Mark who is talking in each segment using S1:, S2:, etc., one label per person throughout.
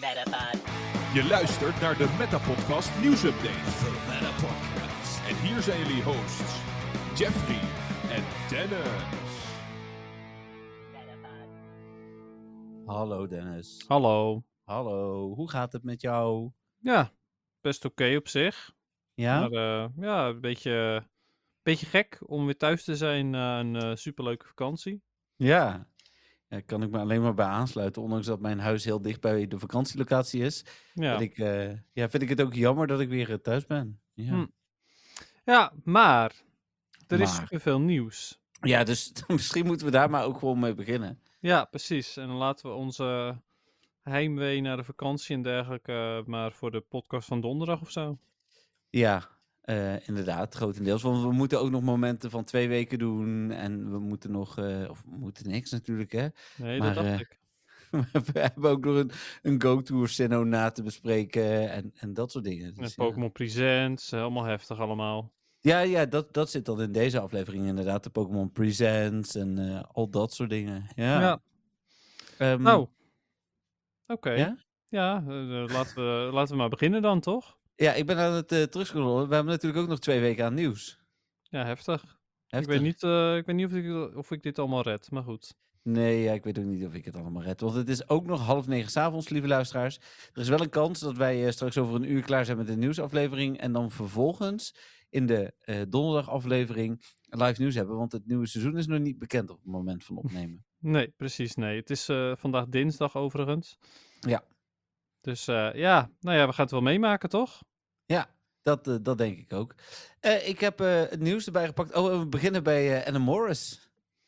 S1: Metapod.
S2: Je luistert naar de Metapodcast nieuwsupdate. De Metapodcast. En hier zijn jullie hosts, Jeffrey en Dennis.
S1: Metapod.
S3: Hallo Dennis.
S4: Hallo.
S3: Hallo, hoe gaat het met jou?
S4: Ja, best oké op zich.
S3: Ja?
S4: Maar eh, ja, een beetje, beetje gek om weer thuis te zijn na een eh, superleuke vakantie.
S3: Ja. Ja, kan ik me alleen maar bij aansluiten, ondanks dat mijn huis heel dicht bij de vakantielocatie is.
S4: Ja,
S3: Vind, ik, eh, ja, vind ik het ook jammer dat ik weer eh, thuis ben. Ja,
S4: Hm. ja maar er is
S3: Maar.
S4: superveel nieuws.
S3: ja dus misschien moeten we daar maar ook gewoon mee beginnen.
S4: Ja, precies. En dan laten we onze heimwee naar de vakantie en dergelijke eh, maar voor de podcast van donderdag of zo.
S3: Ja, eh, inderdaad, grotendeels. Want we moeten ook nog momenten van twee weken doen. En we moeten nog, eh, of we moeten niks natuurlijk, hè.
S4: Nee,
S3: Maar,
S4: dat dacht
S3: eh,
S4: ik.
S3: Maar we hebben ook nog een, een Go-Tour-scenario na te bespreken en, en dat soort dingen.
S4: Met
S3: Dus, ja.
S4: Pokémon Presents, helemaal heftig allemaal.
S3: Ja, ja dat, dat zit dan in deze aflevering inderdaad. De Pokémon Presents en eh, al dat soort dingen. Ja.
S4: Ja,
S3: Ehm,
S4: nou. Oké.
S3: Ja?
S4: Ja, eh, eh, laten, we, laten we maar beginnen dan, toch?
S3: Ja, ik ben aan het eh terugscrollen. We hebben natuurlijk ook nog twee weken aan nieuws.
S4: Ja, heftig. Ik
S3: Heftig.
S4: weet, niet, eh, ik weet niet of ik, of ik dit allemaal red, maar goed.
S3: Nee, ja, ik weet ook niet of ik het allemaal red. Want het is ook nog half negen s'avonds, lieve luisteraars. Er is wel een kans dat wij eh, straks over een uur klaar zijn met de nieuwsaflevering. En dan vervolgens in de eh, donderdagaflevering live nieuws hebben. Want het nieuwe seizoen is nog niet bekend op het moment van opnemen.
S4: Nee, precies, nee. Het is eh, vandaag dinsdag overigens.
S3: Ja.
S4: Dus eh, ja, nou ja, we gaan het wel meemaken, toch?
S3: Ja, dat, eh, dat denk ik ook. Eh, ik heb eh, het nieuws erbij gepakt. Oh, en we beginnen bij eh, Anna Morris.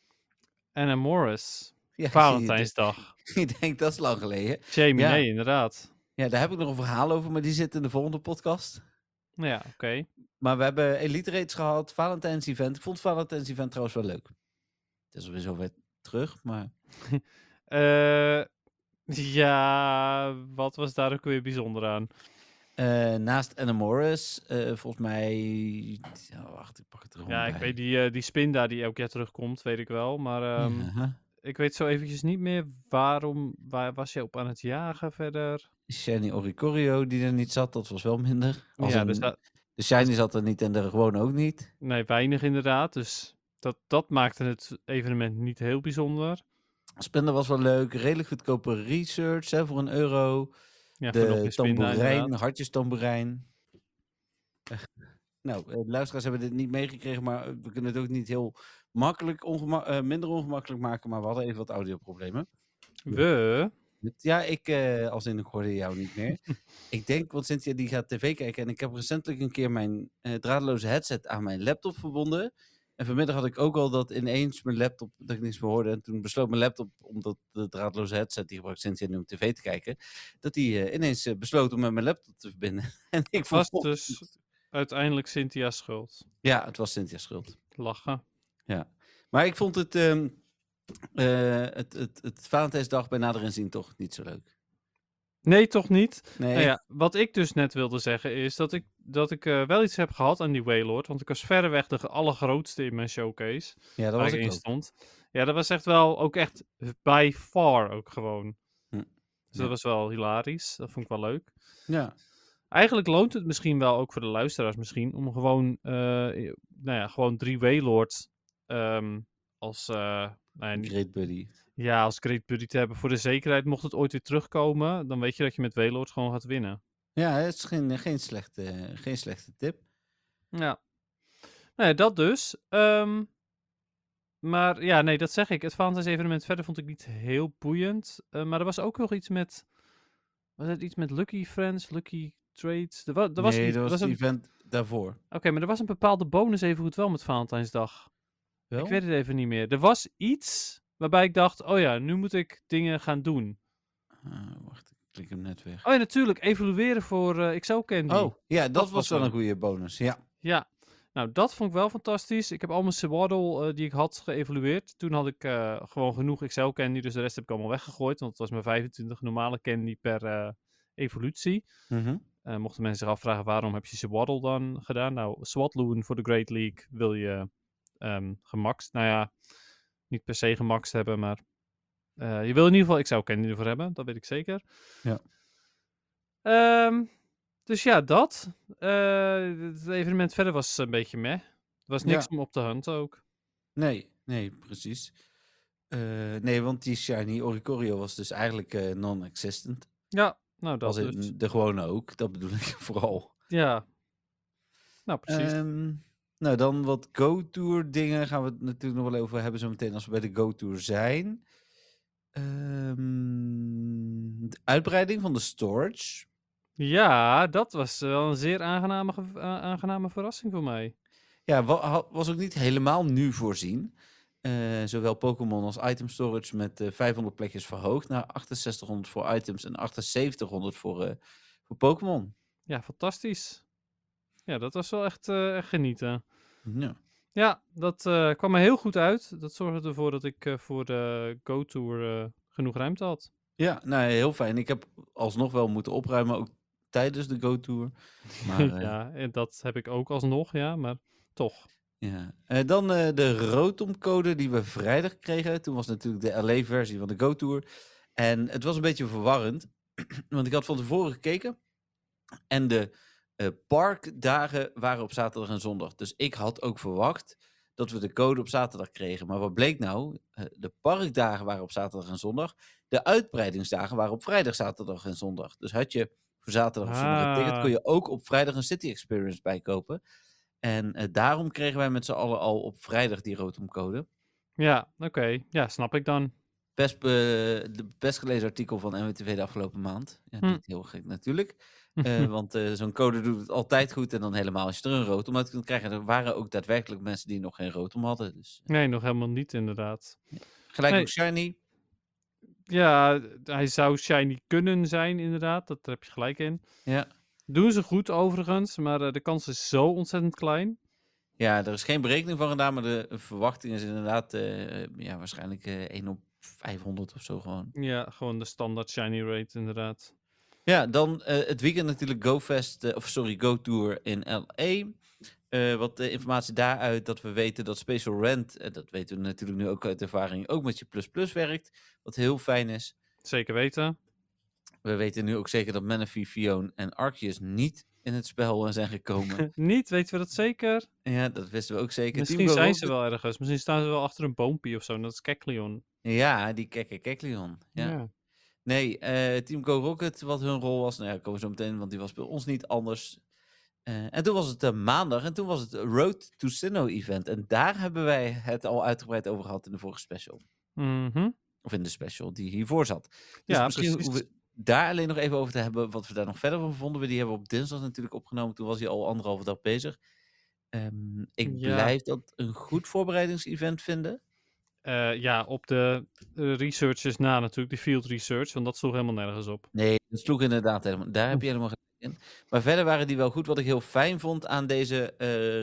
S4: Anna Morris,
S3: Ja, zie
S4: Valentijnsdag.
S3: Je, ik denk dat is lang geleden.
S4: Jamie,
S3: Ja.
S4: nee, inderdaad.
S3: Ja, daar heb ik nog een verhaal over, maar die zit in de volgende podcast.
S4: Nou Ja, oké.
S3: Maar we hebben Elite Rates gehad, Valentijns Event. Ik vond Valentijns Event trouwens wel leuk. Het is alweer zover terug, maar...
S4: Eh, ja, wat was daar ook weer bijzonder aan?
S3: eh, naast Anna Morris, eh, volgens mij... Ja, wacht, ik pak het er gewoon
S4: Ja, ik
S3: bij.
S4: weet die, eh, die spin daar die elk jaar terugkomt, weet ik wel. Maar ehm,
S3: Aha.
S4: ik weet zo eventjes niet meer waarom, waar was je op aan het jagen verder?
S3: Shiny Oricorio, die er niet zat, dat was wel minder. Als
S4: ja,
S3: in,
S4: dus da-
S3: De Shiny zat er niet en de gewoon ook niet.
S4: Nee, weinig inderdaad. Dus dat, dat maakte het evenement niet heel bijzonder.
S3: Spender was wel leuk. Redelijk goedkope research hè, voor een euro.
S4: Ja, nog
S3: de
S4: meer spin,
S3: tamboerijn,
S4: inderdaad.
S3: hartjes tamboerijn. nou, eh, de luisteraars hebben dit niet meegekregen, maar eh, we kunnen het ook niet heel makkelijk, ongema- eh, minder ongemakkelijk maken. Maar we hadden even wat audioproblemen.
S4: We?
S3: Ja, ik, eh, als in, ik hoorde jou niet meer. ik denk, want Cynthia die gaat tv kijken. En ik heb recentelijk een keer mijn eh, draadloze headset aan mijn laptop verbonden. En vanmiddag had ik ook al dat ineens mijn laptop, dat ik niks meer hoorde. En toen besloot mijn laptop, omdat de draadloze headset, die gebruikt Cynthia nu om tv te kijken. Dat die eh, ineens eh, besloot om met mijn laptop te verbinden. en ik
S4: Was
S3: vond,
S4: dus uiteindelijk Cynthia's schuld.
S3: ja, het was Cynthia's schuld.
S4: Lachen.
S3: Maar ik vond het, ehm, eh, het, het, het Valentijnsdag bij nader inzien toch niet zo leuk.
S4: Nee, toch niet?
S3: Nee,
S4: Nou ja, wat ik dus net wilde zeggen is dat ik, dat ik eh, wel iets heb gehad aan die Waylord. Want ik was verreweg de ge- allergrootste in mijn showcase.
S3: ja, dat
S4: waar
S3: was
S4: ik
S3: ik
S4: in
S3: ook.
S4: stond. Ja, dat was echt wel ook echt by far ook gewoon.
S3: Hm.
S4: Dus dat
S3: Ja.
S4: was wel hilarisch. Dat vond ik wel leuk.
S3: Ja.
S4: Eigenlijk loont het misschien wel, ook voor de luisteraars misschien, om gewoon, eh, nou ja, gewoon drie Waylord ehm, als, eh, nou ja, niet-
S3: Great Buddy.
S4: ja, als Great Buddy te hebben. Voor de zekerheid, mocht het ooit weer terugkomen, dan weet je dat je met Waylord gewoon gaat winnen.
S3: Ja, het is geen, eh, geen, slechte, geen slechte tip.
S4: Ja. Nou ja, dat dus. Ehm, maar ja, nee, dat zeg ik. Het Valentijns evenement verder vond ik niet heel boeiend. Eh, maar er was ook nog iets met, was het iets met Lucky Friends, Lucky Trades? Er, wa- er was,
S3: nee,
S4: iets-
S3: dat
S4: er
S3: was het
S4: een-
S3: event daarvoor.
S4: Oké, maar er was een bepaalde bonus evengoed wel met Valentijnsdag.
S3: Wel?
S4: Ik weet het even niet meer. Er was iets waarbij ik dacht, oh ja, nu moet ik dingen gaan doen.
S3: Ah, wacht, ik klik hem net weg.
S4: Oh ja, natuurlijk, evalueren voor eh XL Candy.
S3: Oh, ja, dat, was,
S4: was
S3: wel
S4: hem.
S3: een goede bonus. Ja,
S4: Ja, nou dat vond ik wel fantastisch. Ik heb al mijn Swaddle eh, die ik had geëvalueerd. Toen had ik eh, gewoon genoeg XL Candy, dus de rest heb ik allemaal weggegooid. Want het was maar 25 normale candy per eh, evolutie.
S3: Mhm.
S4: Eh, mochten mensen zich afvragen waarom heb je Swaddle dan gedaan? Nou, Swadloon voor de Great League wil je ehm gemaxt. Nou ja, niet per se gemaxt hebben, maar eh, je wil in ieder geval XL Candy ervoor hebben. Dat weet ik zeker.
S3: Ja.
S4: Ehm, dus ja, dat. Eh, het evenement verder was een beetje meh. Er was niks om op te hunt ook.
S3: Nee, nee, precies. Eh, nee, want die Shiny Oricorio was dus eigenlijk eh, non-existent.
S4: Ja, nou dat
S3: Als in
S4: dus.
S3: de gewone ook, dat bedoel ik vooral.
S4: Ja. Nou, precies.
S3: Ehm, nou, dan wat Go-Tour dingen gaan we het natuurlijk nog wel over hebben zometeen als we bij de Go-Tour zijn. Ehm, de uitbreiding van de storage.
S4: ja, dat was wel een zeer aangename, ge- a- aangename verrassing voor mij.
S3: Ja, wa- ha- was ook niet helemaal nu voorzien. Eh, zowel Pokémon als item storage met eh, 500 plekjes verhoogd naar 6800 voor items en 7800 voor, eh, voor Pokémon.
S4: Ja, fantastisch. Ja, dat was wel echt, eh, echt genieten.
S3: Ja.
S4: Ja, dat eh, kwam er heel goed uit. Dat zorgde ervoor dat ik eh, voor de Go-Tour eh, genoeg ruimte had.
S3: ja, nou heel fijn. Ik heb alsnog wel moeten opruimen, ook tijdens de Go-Tour. Maar eh,
S4: ja, en dat heb ik ook alsnog, ja, maar toch.
S3: Ja. Eh, dan eh, de Rotom-code die we vrijdag kregen. Toen was natuurlijk de LA-versie van de Go-Tour. En het was een beetje verwarrend, want ik had van tevoren gekeken. En de eh, parkdagen waren op zaterdag en zondag. Dus ik had ook verwacht dat we de code op zaterdag kregen. Maar wat bleek nou? Eh, de parkdagen waren op zaterdag en zondag. De uitbreidingsdagen waren op vrijdag, zaterdag en zondag. Dus had je voor zaterdag of zondag een ticket,
S4: Ah.
S3: kon je ook op vrijdag een City Experience bijkopen. En eh, daarom kregen wij met z'n allen al op vrijdag die Rotom-code.
S4: Ja, oké. Ja, snap ik dan.
S3: Best, be- de best gelezen artikel van NWTV de afgelopen maand. Ja,
S4: Hm.
S3: Niet heel gek natuurlijk. Eh, want eh, zo'n code doet het altijd goed. En dan helemaal als je er een rotom uit kunt krijgen. Er waren ook daadwerkelijk mensen die nog geen rotom hadden. Dus
S4: nee, nog helemaal niet inderdaad.
S3: gelijk
S4: Nee.
S3: ook shiny.
S4: Ja, d- hij zou shiny kunnen zijn inderdaad. Dat daar heb je gelijk in.
S3: Ja.
S4: Doen ze goed overigens, maar eh, de kans is zo ontzettend klein.
S3: ja, er is geen berekening van gedaan. Maar de verwachting is inderdaad eh, ja, waarschijnlijk eh 1 op 500 of zo gewoon.
S4: Ja, gewoon de standaard shiny rate inderdaad.
S3: Ja, dan eh, het weekend natuurlijk GoFest, eh, of sorry, GoTour in LA. Eh, wat eh, informatie daaruit dat we weten dat Special Rent, eh, dat weten we natuurlijk nu ook uit ervaring, ook met je plus plus werkt. Wat heel fijn is.
S4: Zeker weten.
S3: We weten nu ook zeker dat Manaphy, Fionn en Arceus niet in het spel eh, zijn gekomen.
S4: Niet, weten we dat zeker?
S3: ja, dat wisten we ook zeker.
S4: Misschien
S3: Team Go
S4: zijn
S3: Rocket-
S4: ze wel ergens. Misschien staan ze wel achter een boompie of zo. En dat is Kekleon.
S3: Ja, die kekke Keklion. Ja. Nee, eh, Team Go Rocket, wat hun rol was. Nou ja, komen we zo meteen, want die was bij ons niet anders. Eh, en toen was het eh, maandag en toen was het Road to Sinnoh event. En daar hebben wij het al uitgebreid over gehad in de vorige special.
S4: Mhm.
S3: Of in de special die hiervoor zat. Dus
S4: Ja,
S3: misschien
S4: precies.
S3: hoeven we daar alleen nog even over te hebben wat we daar nog verder van vonden. We Die hebben we op dinsdag natuurlijk opgenomen. Toen was hij al anderhalve dag bezig. Ehm, ik
S4: Ja.
S3: blijf dat een goed voorbereidingsevent vinden.
S4: Eh, ja, op de eh, researchers na natuurlijk, de field research, want dat sloeg helemaal nergens op.
S3: Nee, dat sloeg inderdaad helemaal. Daar heb je helemaal gelijk in. Maar verder waren die wel goed. Wat ik heel fijn vond aan, deze,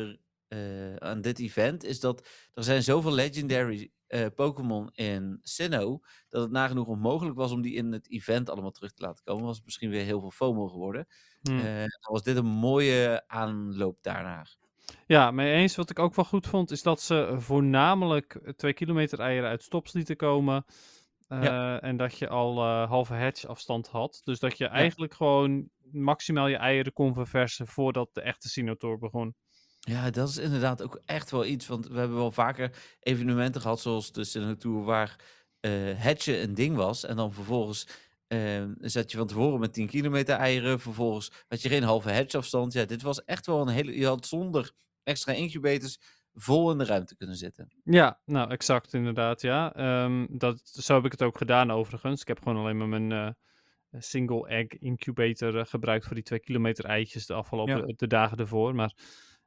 S3: eh, eh, aan dit event is dat er zijn zoveel legendary eh, Pokémon in Sinnoh dat het nagenoeg onmogelijk was om die in het event allemaal terug te laten komen. Was het misschien weer heel veel FOMO geworden.
S4: Hm.
S3: Eh, dan was dit een mooie aanloop daarna.
S4: Ja, mee eens. Wat ik ook wel goed vond, is dat ze voornamelijk eh, twee kilometer eieren uit stops lieten komen. Eh, En dat je al eh, halve hedge afstand had. Dus dat je eigenlijk gewoon maximaal je eieren kon verversen voordat de echte Sinotor begon.
S3: Ja, dat is inderdaad ook echt wel iets. Want we hebben wel vaker evenementen gehad, zoals de Sinnoh Tour, waar eh hatchen een ding was. En dan vervolgens eh, zat je van tevoren met 10 kilometer eieren. Vervolgens had je geen halve hatch afstand. Ja, dit was echt wel een hele... Je had zonder extra incubators vol in de ruimte kunnen zitten.
S4: Ja, nou, exact inderdaad, ja. Ehm, dat, zo heb ik het ook gedaan overigens. Ik heb gewoon alleen maar mijn eh, single egg incubator eh, gebruikt voor die twee kilometer eitjes de afgelopen eh, de dagen ervoor. Maar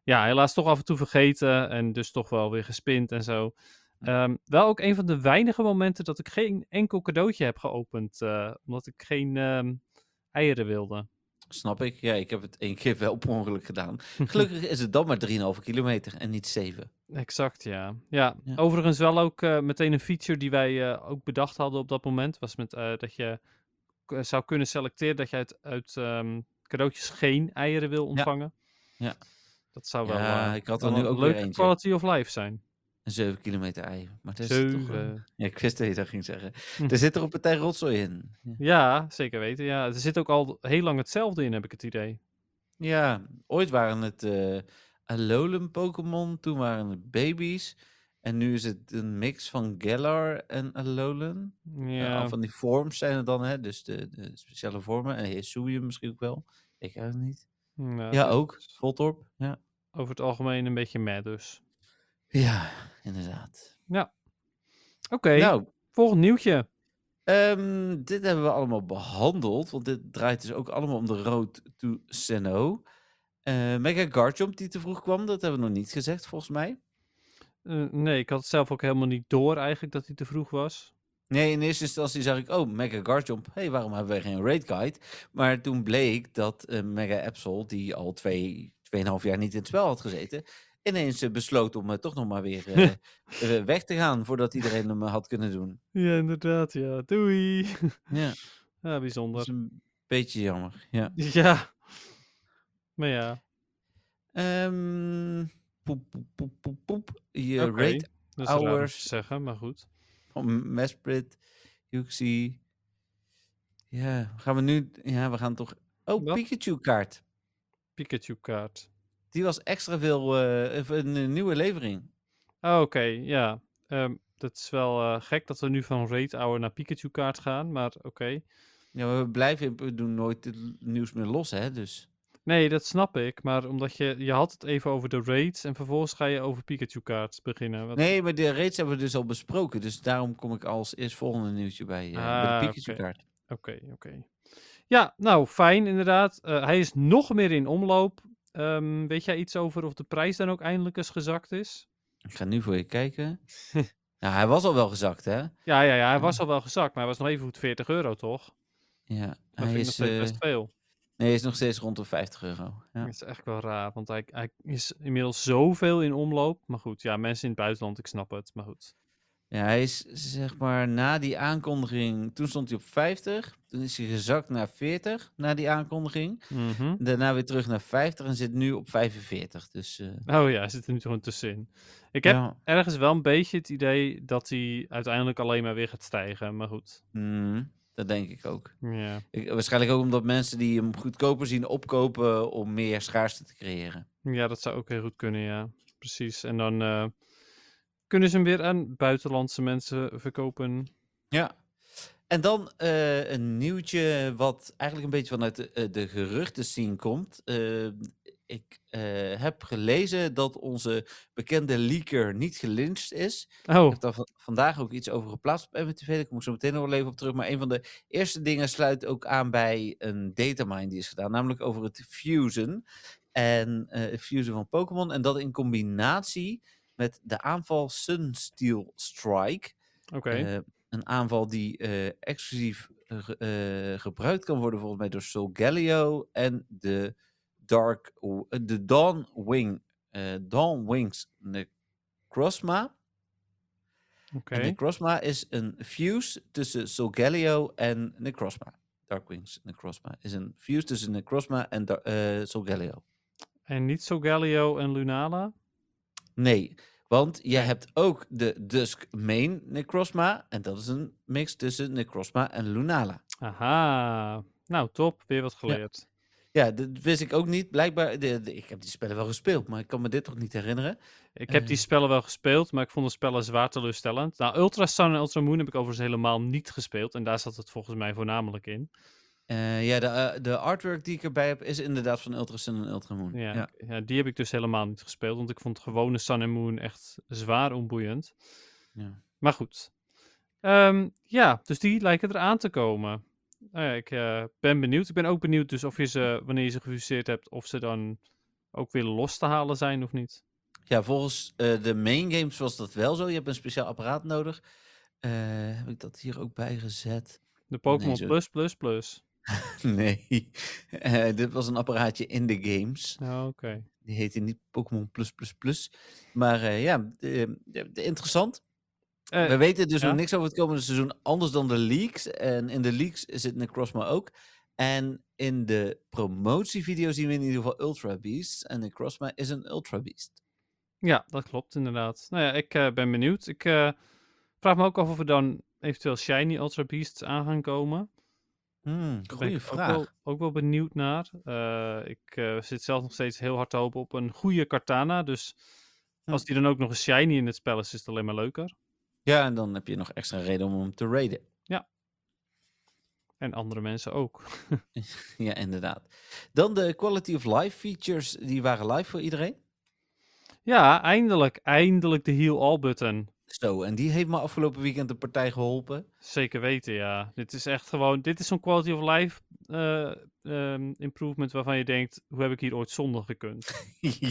S4: ja, helaas toch af en toe vergeten en dus toch wel weer gespind en zo. Ehm, wel ook een van de weinige momenten dat ik geen enkel cadeautje heb geopend, eh, omdat ik geen ehm, eieren wilde.
S3: Snap ik? Ja, ik heb het één keer wel per ongeluk gedaan. Gelukkig is het dan maar 3,5 kilometer en niet 7.
S4: Exact, ja. ja.
S3: Ja.
S4: overigens wel ook eh, meteen een feature die wij eh, ook bedacht hadden op dat moment. Was met, eh, dat je k- eh, zou kunnen selecteren dat je uit, uit ehm, cadeautjes geen eieren wil ontvangen.
S3: Ja.
S4: Dat zou wel,
S3: Ja,
S4: eh,
S3: ik had er
S4: wel
S3: nu
S4: een
S3: ook weer
S4: leuke
S3: eentje.
S4: quality of life zijn. eh,
S3: Een 7 kilometer ei. Maar dat is toch een-
S4: Zeven.
S3: Ja, ik wist dat je dat ging zeggen.
S4: Hm.
S3: Er zit er een partij rotzooi in. Ja.
S4: Ja, zeker weten. Ja, er zit ook al heel lang hetzelfde in, heb ik het idee.
S3: Ja, ooit waren het eh Alolan Pokémon, toen waren het baby's. En nu is het een mix van Galar en Alolan. Eh,
S4: Ja,
S3: al van die vorms zijn er dan, hè? dus de, de speciale vormen. En Hisuian misschien ook wel. Ik eigenlijk niet.
S4: nou,
S3: ja,
S4: dus
S3: ook. Voltorp. Ja.
S4: Over het algemeen een beetje meh dus.
S3: ja, inderdaad.
S4: Oké,
S3: Nou,
S4: volgend nieuwtje.
S3: ehm, dit hebben we allemaal behandeld. Want dit draait dus ook allemaal om de Road to Sinnoh. Eh Mega Garchomp die te vroeg kwam, dat hebben we nog niet gezegd volgens mij.
S4: Eh, nee, ik had het zelf ook helemaal niet door eigenlijk dat hij te vroeg was.
S3: Nee, in eerste instantie zag ik, oh, Mega Garchomp. Hé, hey, waarom hebben wij geen raid guide? Maar toen bleek dat eh, Mega Absol, die al twee, tweeënhalf jaar niet in het spel had gezeten, ineens eh, besloot om eh, toch nog maar weer eh, eh, weg te gaan voordat iedereen hem eh, had kunnen doen.
S4: Ja, inderdaad. Ja, doei.
S3: Ja,
S4: Ja,
S3: dat is
S4: bijzonder.
S3: een beetje jammer. Ja.
S4: Ja. Maar ja,
S3: Ehm, poep, poep, poep, poep, poep. Je
S4: Oké.
S3: raid
S4: dat is raar om te
S3: Hours.
S4: zeggen, maar goed.
S3: van Mesprit, Yuxi. Ja, gaan we nu... Ja, we gaan toch... Oh,
S4: Wat?
S3: Pikachu kaart.
S4: Pikachu-kaart.
S3: Die was extra veel, eh, even een, eh, nieuwe levering.
S4: Ah, Oké, ja. Ehm, dat is wel eh, gek dat we nu van Raid Hour naar Pikachu-kaart gaan, maar oké.
S3: Ja, we blijven, in- we doen nooit het l- nieuws meer los, hè, dus.
S4: Nee, dat snap ik, maar omdat je, je had het even over de raids en vervolgens ga je over Pikachu-kaart beginnen. Wat-
S3: Nee, maar de raids hebben we dus al besproken, dus daarom kom ik als eerst volgende nieuwtje bij, eh, bij
S4: Ah,
S3: de
S4: oké.
S3: Pikachu-kaart.
S4: Oké, oké. Ja, nou, fijn inderdaad. Eh, hij is nog meer in omloop. Ehm, weet jij iets over of de prijs dan ook eindelijk eens gezakt is?
S3: Ik ga nu voor je kijken. nou, hij was al wel gezakt, hè?
S4: Ja, ja, ja, hij was al wel gezakt, maar hij was nog even goed 40 euro, toch?
S3: Ja,
S4: Dat
S3: hij
S4: vind ik
S3: is,
S4: nog steeds
S3: eh,
S4: best veel.
S3: nee, hij is nog steeds rond de 50 euro. Ja.
S4: Dat is echt wel raar, want hij, hij is inmiddels zoveel in omloop. Maar goed, ja, mensen in het buitenland, ik snap het, maar goed.
S3: Ja, hij is zeg maar na die aankondiging, toen stond hij op 50, toen is hij gezakt naar 40 na die aankondiging.
S4: Mhm.
S3: Daarna weer terug naar 50 en zit nu op 45. Dus eh,
S4: Oh ja, hij zit er nu gewoon tussenin. Ik heb
S3: ja.
S4: ergens wel een beetje het idee dat hij uiteindelijk alleen maar weer gaat stijgen, maar goed.
S3: Mm, dat denk ik ook.
S4: Ja,
S3: Ik- waarschijnlijk ook omdat mensen die hem goedkoper zien opkopen om meer schaarste te creëren.
S4: ja dat zou ook heel goed kunnen, ja. Precies, en dan eh, kunnen ze hem weer aan buitenlandse mensen verkopen.
S3: Ja. En dan eh, een nieuwtje wat eigenlijk een beetje vanuit de, eh, de geruchten scene komt. Eh, ik eh, heb gelezen dat onze bekende leaker niet gelinched is.
S4: Oh,
S3: Ik heb daar va- vandaag ook iets over geplaatst op MTV. Daar kom ik zo meteen nog wel even op terug. Maar een van de eerste dingen sluit ook aan bij een datamine die is gedaan. Namelijk over het fusen. En eh, het fusen van Pokémon. En dat in combinatie met de aanval Sunsteel Strike.
S4: oké.
S3: Eh, een aanval die eh, exclusief eh, ge- eh, gebruikt kan worden volgens mij door Solgaleo en de Dark, W- eh, de Dawn Wing, eh Dawn Wings Necrozma.
S4: oké.
S3: En Necrozma is een fuse tussen Solgaleo en Necrozma. Darkwings Necrozma is een fuse tussen Necrozma en Dar- eh, Solgaleo.
S4: En niet Sogalio en Lunala?
S3: Nee, want je hebt ook de Dusk Main Necrozma. En dat is een mix tussen Necrozma en Lunala.
S4: Aha. Nou, top. Weer wat geleerd.
S3: Ja, dat wist ik ook niet. Blijkbaar, de- de- ik heb die spellen wel gespeeld, maar ik kan me dit toch niet herinneren.
S4: Ik heb die
S3: Eh.
S4: spellen wel gespeeld, maar ik vond de spellen zwaar teleurstellend. Nou, Ultra Sun en Ultra Moon heb ik overigens helemaal niet gespeeld. En daar zat het volgens mij voornamelijk in.
S3: Eh, ja, de, eh, de artwork die ik erbij heb is inderdaad van Ultra Sun en Ultra Moon.
S4: Ja, ik- ja, die heb ik dus helemaal niet gespeeld. Want ik vond gewone Sun en Moon echt zwaar onboeiend.
S3: Ja.
S4: Maar goed. Ehm, ja, dus die lijken eraan te komen. Nou ja, ik eh, ben benieuwd. Ik ben ook benieuwd dus of je ze, wanneer je ze gefuseerd hebt, of ze dan ook weer los te halen zijn of niet.
S3: Ja, volgens eh, de main games was dat wel zo. Je hebt een speciaal apparaat nodig. Eh, heb ik dat hier ook bij gezet?
S4: De Pokémon
S3: zo-
S4: Plus Plus Plus.
S3: nee. Eh, dit was een apparaatje in de games.
S4: Oh, Oké.
S3: Die heette niet Pokémon Plus Plus Plus. Maar eh, ja, eh, de- de- interessant.
S4: Eh,
S3: We weten dus
S4: ja.
S3: nog niks over het komende seizoen, anders dan de leaks. En in de leaks zit Necrozma ook. En in de promotievideo zien we in ieder geval Ultra Beast. En Necrozma is een Ultra Beast.
S4: Ja, dat klopt inderdaad. Nou ja, ik eh, ben benieuwd. Ik eh, vraag me ook af of er dan eventueel Shiny Ultra Beasts aan gaan komen.
S3: Hmm,
S4: Daar ben
S3: goeie
S4: ik
S3: vraag.
S4: Ook wel, ook wel benieuwd naar. Eh, ik eh, zit zelf nog steeds heel hard te hopen op een goede Kartana. Dus
S3: Hm.
S4: als die dan ook nog een Shiny in het spel is, is het alleen maar leuker.
S3: Ja, en dan heb je nog extra reden om hem te raiden.
S4: En andere mensen ook.
S3: Ja, inderdaad. Dan de quality of life features, die waren live voor iedereen.
S4: Ja, eindelijk. Eindelijk de Heal All button.
S3: Zo, en die heeft me afgelopen weekend een partij geholpen.
S4: Zeker weten, ja. Dit is echt gewoon, dit is zo'n quality of life eh, ehm, improvement waarvan je denkt, hoe heb ik hier ooit zonder gekund?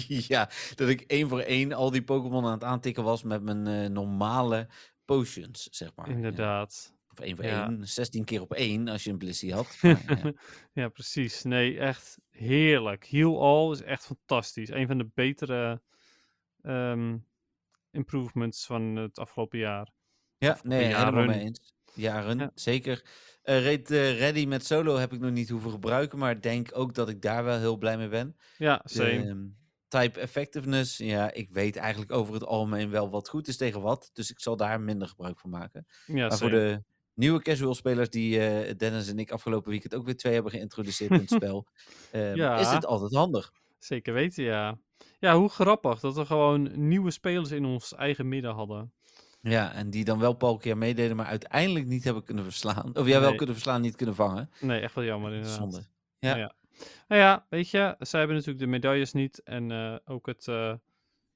S3: ja, dat ik één voor één al die Pokémon aan het aantikken was met mijn eh, normale potions, zeg maar. Ja,
S4: Inderdaad.
S3: Of één voor
S4: Ja.
S3: één, 16 keer op één als je een Blissey had. maar, ja.
S4: Ja, precies. Nee, echt heerlijk. Heal All is echt fantastisch. Een van de betere ehm, improvements van het afgelopen jaar.
S3: Ja,
S4: Afgelopen
S3: nee, helemaal
S4: jaren.
S3: mee eens. Jaren,
S4: Ja.
S3: zeker. Eh Raid eh, Ready met solo heb ik nog niet hoeven gebruiken, maar ik denk ook dat ik daar wel heel blij mee ben.
S4: Ja, same.
S3: De, ehm, type effectiveness, ja, ik weet eigenlijk over het algemeen wel wat goed is tegen wat, dus ik zal daar minder gebruik van maken.
S4: ja,
S3: maar voor
S4: same.
S3: de nieuwe casual spelers die eh, Dennis en ik afgelopen weekend ook weer twee hebben geïntroduceerd in het spel, ehm, is
S4: Ja.
S3: dit altijd handig.
S4: Zeker weten, ja. Ja, hoe grappig dat we gewoon nieuwe spelers in ons eigen midden hadden.
S3: Ja, en die dan wel een paar keer meededen, maar uiteindelijk niet hebben kunnen verslaan. Of ja, wel
S4: Nee.
S3: kunnen verslaan, niet kunnen vangen.
S4: Nee, echt wel jammer inderdaad.
S3: Zonde.
S4: Nou ja, weet je, zij hebben natuurlijk de medailles niet. En eh, ook het, eh,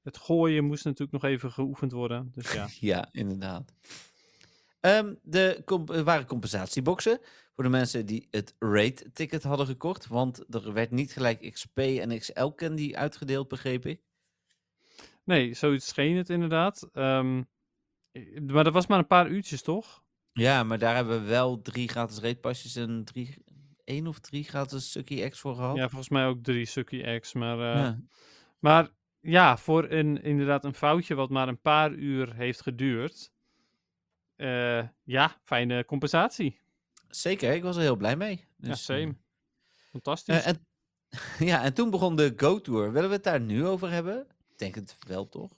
S4: het gooien moest natuurlijk nog even geoefend worden. Dus ja.
S3: Ja, inderdaad. Ehm de comp- er waren compensatieboxen voor de mensen die het Raid-ticket hadden gekocht. Want er werd niet gelijk XP en XL-candy uitgedeeld, begreep ik.
S4: Nee, zoiets scheen het inderdaad. Ehm, i- maar dat was maar een paar uurtjes, toch?
S3: Ja, maar daar hebben we wel drie gratis raidpasjes en drie, één of drie gratis Sucky X voor gehad.
S4: Ja, volgens mij ook drie Sucky X. Maar, eh,
S3: Oh. Ja.
S4: maar ja, voor een, inderdaad een foutje wat maar een paar uur heeft geduurd. eh, ja, fijne compensatie.
S3: Zeker, ik was er heel blij mee.
S4: ja,
S3: Dus, eh,
S4: same. Fantastisch.
S3: eh, en, ja, en toen begon de Go-tour. Willen we het daar nu over hebben? Ik denk het wel, toch?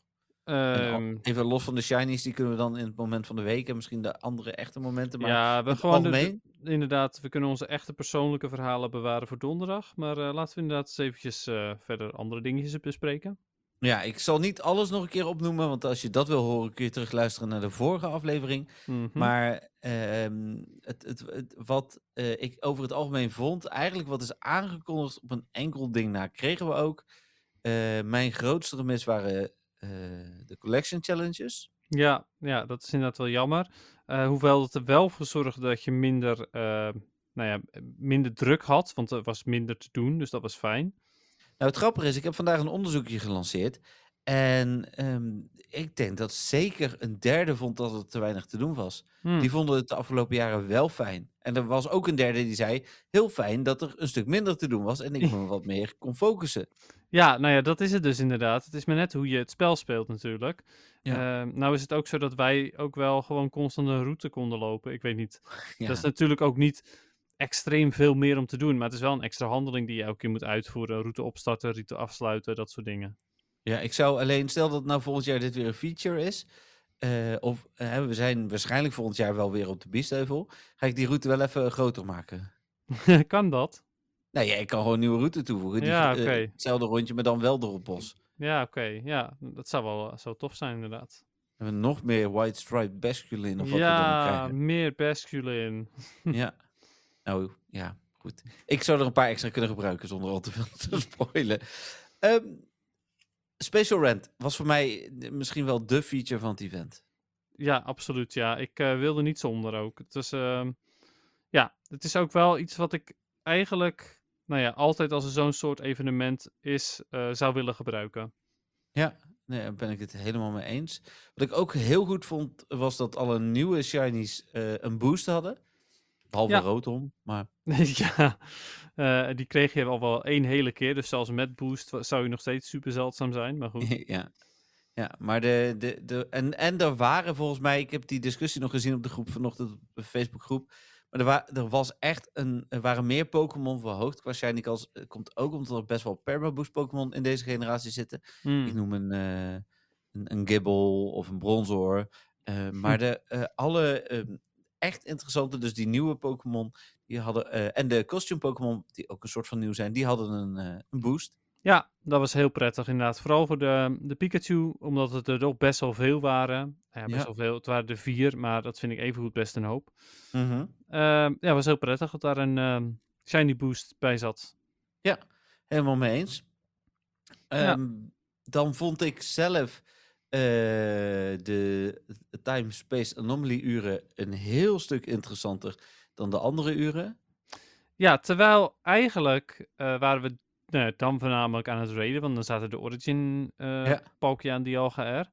S3: En al-
S4: Ehm,
S3: even los van de shinies, die kunnen we dan in het moment van de week en misschien de andere echte momenten. Maar
S4: ja, we
S3: het
S4: gewoon de- de-
S3: algemeen?
S4: inderdaad, we kunnen onze echte persoonlijke verhalen bewaren voor donderdag. Maar eh, laten we inderdaad eens eventjes eh, verder andere dingetjes bespreken.
S3: Ja, ik zal niet alles nog een keer opnoemen, want als je dat wil horen, kun je terugluisteren naar de vorige aflevering.
S4: Mhm.
S3: Maar ehm, het, het, het- wat eh, ik over het algemeen vond, eigenlijk wat is aangekondigd op een enkel ding na, kregen we ook. Eh, mijn grootste remis waren eh, de collection challenges.
S4: ja, ja, dat is inderdaad wel jammer. Eh, hoewel het er wel voor zorgde dat je minder, eh, nou ja, eh, minder druk had, want er was minder te doen, dus dat was fijn.
S3: Nou, het grappige is, ik heb vandaag een onderzoekje gelanceerd. En ehm, ik denk dat zeker een derde vond dat er te weinig te doen was.
S4: Hm,
S3: Die vonden het de afgelopen jaren wel fijn. En er was ook een derde die zei: heel fijn dat er een stuk minder te doen was en ik me wat meer kon focussen.
S4: Ja, nou ja, dat is het dus inderdaad. Het is maar net hoe je het spel speelt natuurlijk.
S3: Ja.
S4: Eh, nou is het ook zo dat wij ook wel gewoon constant een route konden lopen. Ik weet niet,
S3: Ja,
S4: Dat is natuurlijk ook niet extreem veel meer om te doen. Maar het is wel een extra handeling die je elke keer moet uitvoeren. Route opstarten, route afsluiten, dat soort dingen.
S3: ja, ik zou alleen, stel dat nou volgend jaar dit weer een feature is. eh, of eh, we zijn waarschijnlijk volgend jaar wel weer op de Biesheuvel. Ga ik die route wel even groter maken?
S4: kan dat?
S3: Nou ja, ik kan gewoon een nieuwe route toevoegen. Die,
S4: Ja,
S3: eh,
S4: oké.
S3: hetzelfde rondje, maar dan wel door het bos.
S4: Ja, oké. Ja, dat zou wel zo tof zijn inderdaad.
S3: En we nog meer white striped basculin of wat we dan
S4: ja,
S3: krijgen.
S4: meer basculin.
S3: Ja. Nou, ja, goed. Ik zou er een paar extra kunnen gebruiken zonder al te veel te spoilen. Ehm, Special Rent was voor mij de- misschien wel de feature van het event.
S4: Ja, absoluut. Ja, ik eh, wilde niet zonder ook. Het is, ehm, ja, het is ook wel iets wat ik eigenlijk, nou ja, altijd als er zo'n soort evenement is, eh, zou willen gebruiken.
S3: Nee, daar ben ik het helemaal mee eens. Wat ik ook heel goed vond, was dat alle nieuwe shinies eh, een boost hadden. Behalve
S4: Ja.
S3: Rotom, maar
S4: ja, eh, die kreeg je al wel één hele keer. Dus zelfs met boost wa- zou je nog steeds super zeldzaam zijn. Maar goed.
S3: ja. Ja, maar de, de, de, en, en er waren volgens mij, ik heb die discussie nog gezien op de groep vanochtend, op de Facebookgroep. Maar er, wa- er was echt een, er waren meer Pokémon verhoogd qua Shiny Calls. Eh, Komt ook omdat er best wel Permaboost Pokémon in deze generatie zitten.
S4: Hmm.
S3: Ik noem een, eh, een, een Gibble of een Bronzor. Eh, maar de, eh, alle ehm, echt interessante, dus die nieuwe Pokémon, die hadden, eh, en de costume Pokémon, die ook een soort van nieuw zijn, die hadden een, eh, een boost.
S4: Ja, dat was heel prettig inderdaad. Vooral voor de, de Pikachu, omdat het er toch best wel veel waren. Ja, best
S3: Ja.
S4: wel veel. Het waren er vier, maar dat vind ik evengoed best een hoop. Ehm, ja, was heel prettig dat daar een ehm, shiny boost bij zat.
S3: Helemaal mee eens.
S4: Ja.
S3: Ehm, Dan vond ik zelf eh, de time-space anomaly uren een heel stuk interessanter dan de andere uren.
S4: Ja, terwijl eigenlijk eh, waren we nou ja, dan voornamelijk aan het raiden, want dan zaten de origin eh
S3: Ja.
S4: Palkia en Dialga er.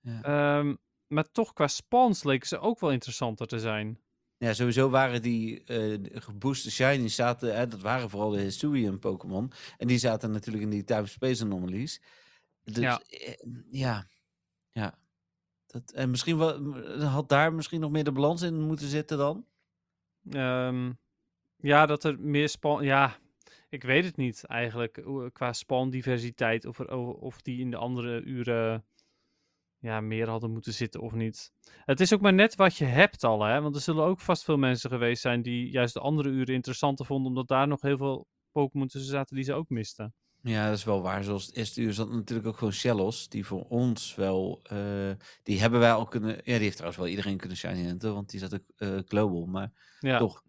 S3: Ja.
S4: Ehm, maar toch qua spawns leken ze ook wel interessanter te zijn.
S3: Ja, sowieso waren die eh gebooste shinies, zaten, hè, dat waren vooral de Hisuian Pokémon. En die zaten natuurlijk in die time-space anomalies. Dus
S4: Ja.
S3: ja, ja. ja. Dat, en misschien wel, m- had daar misschien nog meer de balans in moeten zitten dan?
S4: Ehm, ja, dat er meer spawn... Ja, ik weet het niet eigenlijk. hoe- Qua spandiversiteit of, er, o- of die in de andere uren ja, meer hadden moeten zitten of niet. Het is ook maar net wat je hebt al, hè. Want er zullen ook vast veel mensen geweest zijn die juist de andere uren interessanter vonden. Omdat daar nog heel veel Pokémon tussen zaten die ze ook misten.
S3: Ja, dat is wel waar. Zoals het eerste uur zat natuurlijk ook gewoon Shellos, die voor ons wel, eh, die hebben wij al kunnen, ja, die heeft trouwens wel iedereen kunnen shiny hunten, want die zat ook eh, global, maar
S4: Ja,
S3: toch.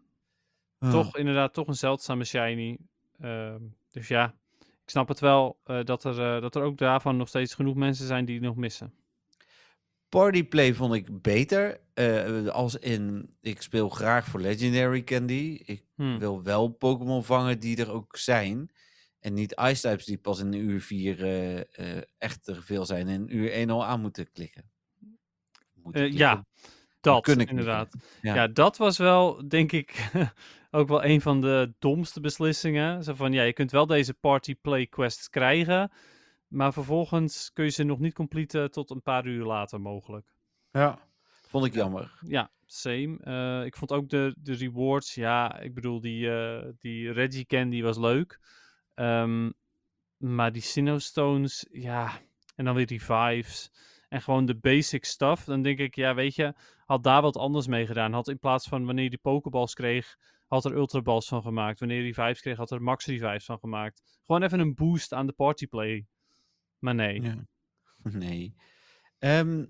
S4: toch inderdaad toch een zeldzame shiny. Ehm, dus ja, ik snap het wel eh, dat, er, eh, dat er ook daarvan nog steeds genoeg mensen zijn die het nog missen.
S3: Partyplay vond ik beter. eh, als in, ik speel graag voor Legendary Candy. Ik
S4: Hmm.
S3: wil wel Pokémon vangen die er ook zijn. En niet Ice-types die pas in uur 4 eh, eh, echt te veel zijn. En in uur 1 al aan moeten klikken. Moeten
S4: Eh,
S3: klikken.
S4: ja, dat
S3: kunnen klikken.
S4: inderdaad. Ja.
S3: Ja.
S4: dat was wel, denk ik, ook wel een van de domste beslissingen. Zo van, ja, je kunt wel deze party play quests krijgen, maar vervolgens kun je ze nog niet completen tot een paar uur later mogelijk.
S3: ja. Vond ik jammer.
S4: Ja, same. Eh, ik vond ook de, de rewards, ja, ik bedoel, die, eh, die Reggie Candy was leuk. Ehm, maar die Sinnoh-stones, ja, en dan weer revives. En gewoon de basic stuff. Dan denk ik, ja, weet je, had daar wat anders mee gedaan. Had in plaats van wanneer je die pokeballs kreeg, had er ultraballs van gemaakt. Wanneer je revives kreeg, had er max revives van gemaakt. Gewoon even een boost aan de partyplay. Maar nee.
S3: Ja. Nee. Ehm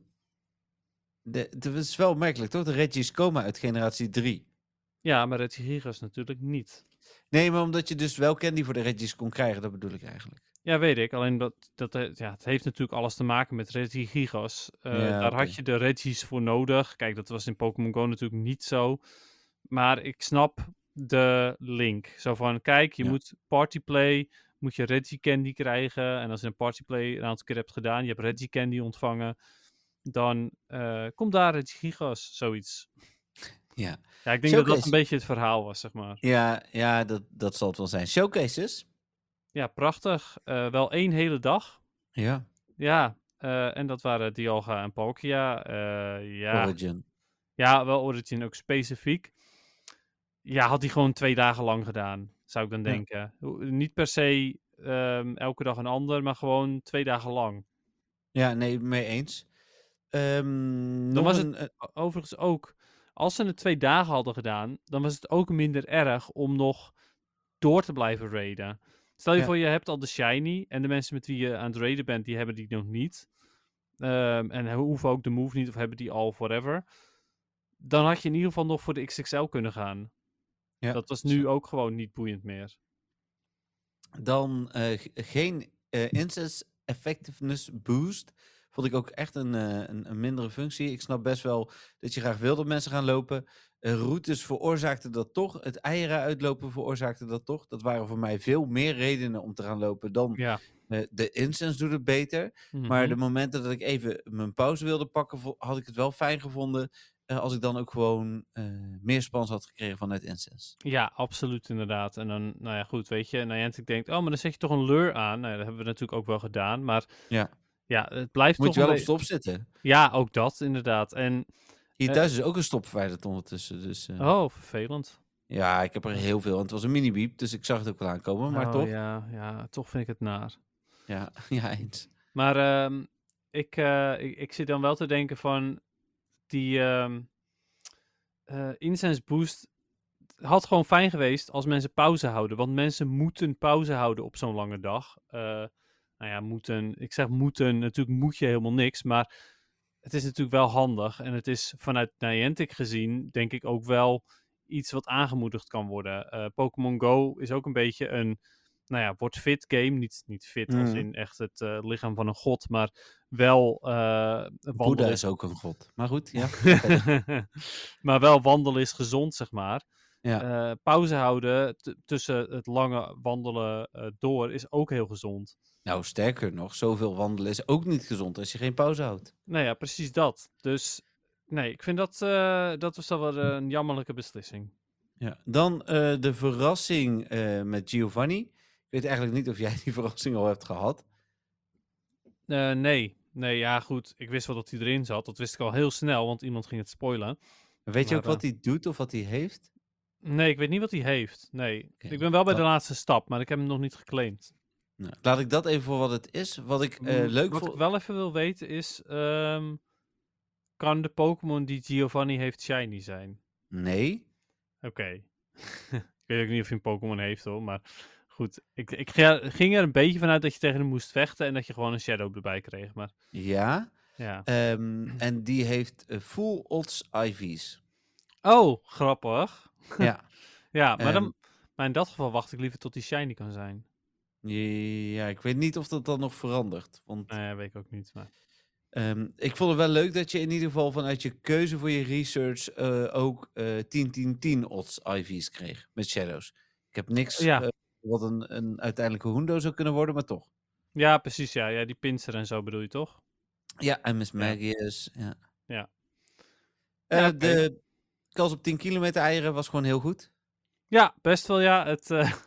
S3: de, het is wel merkelijk, toch? De Reggie's Coma uit generatie 3.
S4: Ja, maar Reggie Gigas natuurlijk niet.
S3: Nee, maar omdat je dus wel candy voor de Reggie's kon krijgen. Dat bedoel ik eigenlijk.
S4: Ja, weet ik. Alleen dat, dat eh, ja, het heeft natuurlijk alles te maken met Reggie Gigas. Eh,
S3: Ja,
S4: daar
S3: oké.
S4: had je de Reggie's voor nodig. Kijk, dat was in Pokémon Go natuurlijk niet zo. Maar ik snap de link. Zo van, kijk, je
S3: Ja.
S4: moet partyplay, moet je Reggie Candy krijgen. En als je een partyplay een aantal keer hebt gedaan, je hebt Reggie Candy ontvangen, dan eh, komt daar Reggie Gigas, zoiets.
S3: Ja.
S4: Ja, ik denk
S3: Zo
S4: dat dat
S3: is-
S4: een beetje het verhaal was, zeg maar.
S3: Ja, ja dat, dat zal het wel zijn. Showcases.
S4: Ja, prachtig. Eh, wel één hele dag,
S3: Ja.
S4: Ja, eh, en dat waren Dialga en Palkia. eh, ja.
S3: Origin.
S4: ja, wel Origin ook specifiek. Ja, had hij gewoon twee dagen lang gedaan, zou ik dan
S3: Ja.
S4: denken. Ho- Niet per se ehm, elke dag een ander, maar gewoon twee dagen lang.
S3: Ja, nee, mee eens. Ehm nog
S4: was
S3: een, eh,
S4: O- Overigens ook, als ze het twee dagen hadden gedaan, dan was het ook minder erg om nog door te blijven raiden. Stel je
S3: Ja.
S4: voor, je hebt al de shiny en de mensen met wie je aan het raiden bent, die hebben die nog niet. Ehm, en he- hoeven ook de move niet of hebben die al forever. Dan had je in ieder geval nog voor de XXL kunnen gaan.
S3: Ja,
S4: dat was nu
S3: zo.
S4: ook gewoon niet boeiend meer.
S3: Dan eh, g- geen eh incest effectiveness boost. Vond ik ook echt een, eh, een, een mindere functie. Ik snap best wel dat je graag wil dat mensen gaan lopen. Eh, routes veroorzaakten dat toch. Het eieren uitlopen veroorzaakte dat toch. Dat waren voor mij veel meer redenen om te gaan lopen dan
S4: Ja. Mhm.
S3: eh, de incense doet het beter. Maar de momenten dat ik even mijn pauze wilde pakken, vo- had ik het wel fijn gevonden. eh, als ik dan ook gewoon eh, meer spans had gekregen vanuit Incense.
S4: Ja, absoluut inderdaad. En dan, nou ja, goed, weet je. En Niantic denkt, oh, maar dan zet je toch een lure aan. Nou, ja, dat hebben we natuurlijk ook wel gedaan. Maar
S3: Ja.
S4: ja het blijft
S3: Moet
S4: toch...
S3: je wel
S4: een
S3: op
S4: be-
S3: stop zitten.
S4: Ja, ook dat inderdaad. En
S3: Hier
S4: Eh.
S3: thuis is ook een stop verwijderd ondertussen. Dus, eh,
S4: Oh, vervelend.
S3: Ja, ik heb er heel veel. En het was een mini-biep, dus ik zag het ook wel aankomen. Maar
S4: Oh,
S3: toch, ja.
S4: Ja, ja, toch vind ik het naar.
S3: Ja, eens.
S4: Maar ehm, ik, eh, ik, ik zit dan wel te denken van die ehm eh, incense boost had gewoon fijn geweest als mensen pauze houden. Want mensen moeten pauze houden op zo'n lange dag. Eh, nou ja, moeten. Ik zeg moeten, natuurlijk moet je helemaal niks. Maar het is natuurlijk wel handig. En het is vanuit Niantic gezien, denk ik ook wel iets wat aangemoedigd kan worden. Eh, Pokémon Go is ook een beetje een. Nou ja, wordt fit game. Niet, niet fit als
S3: Mm.
S4: in echt het eh, lichaam van een god, maar wel eh
S3: Boeddha
S4: wandelen.
S3: is ook een god. Maar goed, ja.
S4: maar wel wandelen is gezond, zeg maar.
S3: Ja.
S4: Eh, pauze houden t- tussen het lange wandelen eh, door is ook heel gezond.
S3: nou, sterker nog, zoveel wandelen is ook niet gezond als je geen pauze houdt.
S4: Nou ja, precies dat. Dus nee, ik vind dat, eh, dat was dan wel een jammerlijke beslissing.
S3: Ja. Dan eh, de verrassing eh, met Giovanni. Ik weet eigenlijk niet of jij die verrassing al hebt gehad.
S4: Eh, nee, nee, ja goed. Ik wist wel dat hij erin zat. Dat wist ik al heel snel, want iemand ging het spoilen.
S3: Weet je
S4: Maar, eh,
S3: ook wat hij doet of wat hij heeft?
S4: Nee, ik weet niet wat hij heeft. Nee,
S3: Oké,
S4: ik ben wel bij de
S3: dat-
S4: laatste stap, maar ik heb hem nog niet geclaimd.
S3: Nou, laat ik dat even voor wat het is. Wat ik eh,
S4: Mm,
S3: leuk
S4: Wat
S3: vond.
S4: ik wel even wil weten is... ehm, kan de Pokémon die Giovanni heeft shiny zijn?
S3: Nee.
S4: Oké. ik weet ook niet of hij een Pokémon heeft hoor, maar... Goed, ik, ik ga- ging er een beetje vanuit dat je tegen hem moest vechten... en dat je gewoon een Shadow erbij kreeg, maar...
S3: Ja.
S4: Ja.
S3: Ehm, en die heeft eh, full odds IV's.
S4: Oh, grappig.
S3: ja.
S4: Ja, maar,
S3: Ehm.
S4: dan, maar in dat geval wacht ik liever tot die shiny kan zijn.
S3: Ja, ik weet niet of dat dan nog verandert. Want
S4: Nee, Nou weet ik ook niet, maar...
S3: Ehm, ik vond het wel leuk dat je in ieder geval vanuit je keuze voor je research eh, ook eh 10-10-10 odds IV's kreeg met shadows. Ik heb niks
S4: Ja.
S3: eh, wat een, een uiteindelijke hundo zou kunnen worden, maar toch.
S4: Ja, precies, ja. Ja, die pinster en zo bedoel je toch?
S3: Ja, en Miss Magius. Ja.
S4: Ja.
S3: Eh,
S4: Ja, oké.
S3: De kans op 10 kilometer eieren was gewoon heel goed.
S4: Ja, best wel ja. Het, eh, eh,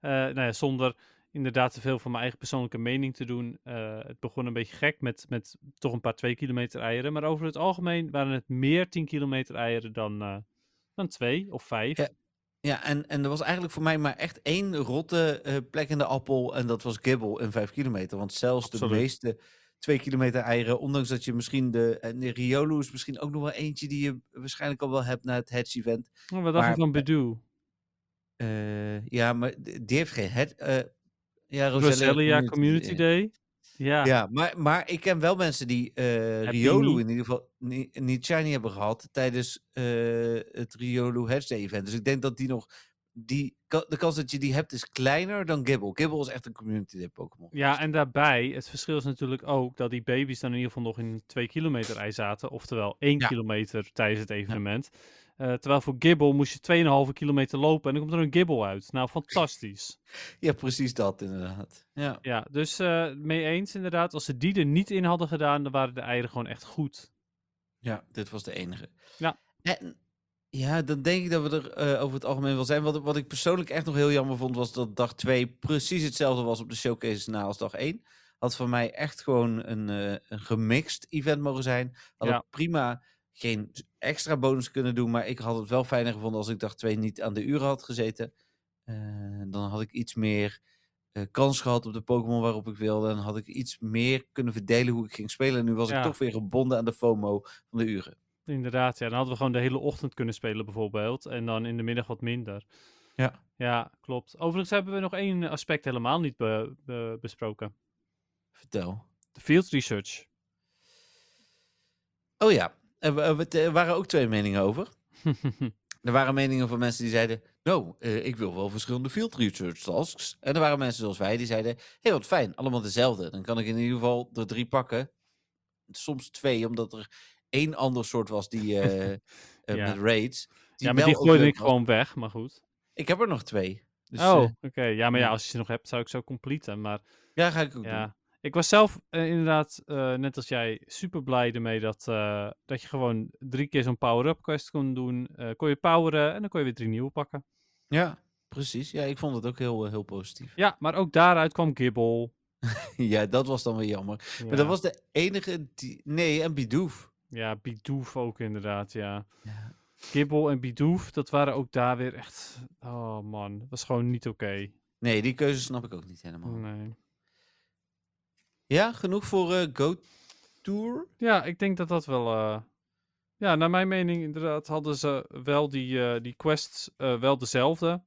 S4: nou ja, zonder inderdaad te veel van mijn eigen persoonlijke mening te doen. eh, het begon een beetje gek met, met toch een paar 2 kilometer eieren. Maar over het algemeen waren het meer 10 kilometer eieren dan, eh dan 2 of 5.
S3: Ja. Ja, en, en er was eigenlijk voor mij maar echt één rotte eh, plek in de appel. En dat was Gibbel in 5 kilometer. Want zelfs de
S4: Absoluut.
S3: meeste 2 kilometer eieren, ondanks dat je misschien de. En de Riolo is misschien ook nog wel eentje die je waarschijnlijk al wel hebt na het hedge event.
S4: Oh, wat dacht
S3: maar-
S4: ik van Bedoe?
S3: Eh, ja, maar d- die heeft geen hedge. eh, ja, Roselia
S4: Roselia Community Day. Ja,
S3: eh, Ja, maar, maar ik ken wel mensen die eh
S4: Heb je
S3: Riolu
S4: niet?
S3: in ieder geval ni- niet shiny hebben gehad tijdens eh, het Riolu Hedge Day event. Dus ik denk dat die nog, die, ka- de kans dat je die hebt is kleiner dan Gibble. Gibble is echt een community day Pokémon.
S4: ja, en daarbij, het verschil is natuurlijk ook dat die baby's dan in ieder geval nog in 2 kilometer ei zaten. Oftewel 1
S3: Ja.
S4: kilometer tijdens het evenement. Eh, terwijl voor Gibbel moest je 2,5 kilometer lopen en dan komt er een Gibbel uit. Nou, fantastisch.
S3: Ja, precies dat inderdaad. Ja.
S4: Ja, dus eh, mee eens inderdaad. Als ze die er niet in hadden gedaan, dan waren de eieren gewoon echt goed.
S3: ja, dit was de enige.
S4: Ja.
S3: En ja, dan denk ik dat we er eh, over het algemeen wel zijn. Wat, wat ik persoonlijk echt nog heel jammer vond, was dat dag 2 precies hetzelfde was op de showcases na als dag 1. Had voor mij echt gewoon een, eh, een gemixt event mogen zijn. Had
S4: Ja.
S3: ook prima geen s- extra bonus kunnen doen, maar ik had het wel fijner gevonden als ik dag 2 niet aan de uren had gezeten. Eh, dan had ik iets meer eh, kans gehad op de Pokémon waarop ik wilde. En had ik iets meer kunnen verdelen hoe ik ging spelen. En nu was
S4: Ja.
S3: ik toch weer gebonden aan de FOMO van de uren.
S4: Inderdaad, ja. Dan hadden we gewoon de hele ochtend kunnen spelen bijvoorbeeld. En dan in de middag wat minder.
S3: Ja.
S4: Ja, klopt. Overigens hebben we nog één aspect helemaal niet be- be- besproken.
S3: Vertel.
S4: De field research.
S3: Oh ja, er, wa- er, wa- er eh, waren ook twee meningen over. Er waren meningen van mensen die zeiden... Nou, eh, ik wil wel verschillende field research tasks. En er waren mensen zoals wij die zeiden... Hé, hey, wat fijn, allemaal dezelfde. Dan kan ik in ieder geval er drie pakken. Soms twee, omdat er één ander soort was die... eh, eh,
S4: Ja.
S3: Met raids.
S4: ja, maar
S3: wel
S4: die
S3: ook
S4: gooide
S3: leuk
S4: ik
S3: was.
S4: gewoon weg, maar goed.
S3: Ik heb er nog twee. Dus,
S4: oh,
S3: eh,
S4: oké. Ja, maar ja,
S3: ja.
S4: als je ze nog hebt, zou ik zo completen. Maar
S3: ja, ga ik ook doen.
S4: Ja, ik was zelf eh, inderdaad, eh, net als jij, super blij ermee dat, eh, dat je gewoon drie keer zo'n power-up quest kon doen. Eh, kon je poweren en dan kon je weer drie nieuwe pakken.
S3: Ja, precies. Ja, ik vond het ook heel, eh, heel positief.
S4: Ja, maar ook daaruit kwam Gibble.
S3: ja, dat was dan weer jammer. Maar dat was de enige die... Nee, en Bidoof.
S4: Ja, Bidoof ook inderdaad, ja. Gibbel en Bidoof, dat waren ook daar weer echt... Oh man, dat was gewoon niet oké.
S3: Nee, die keuze snap ik ook niet helemaal.
S4: Nee.
S3: Ja, genoeg voor eh Go Tour.
S4: Ja, ik denk dat dat wel. eh, Ja, naar mijn mening, inderdaad, hadden ze wel die, eh, die quests eh, wel dezelfde.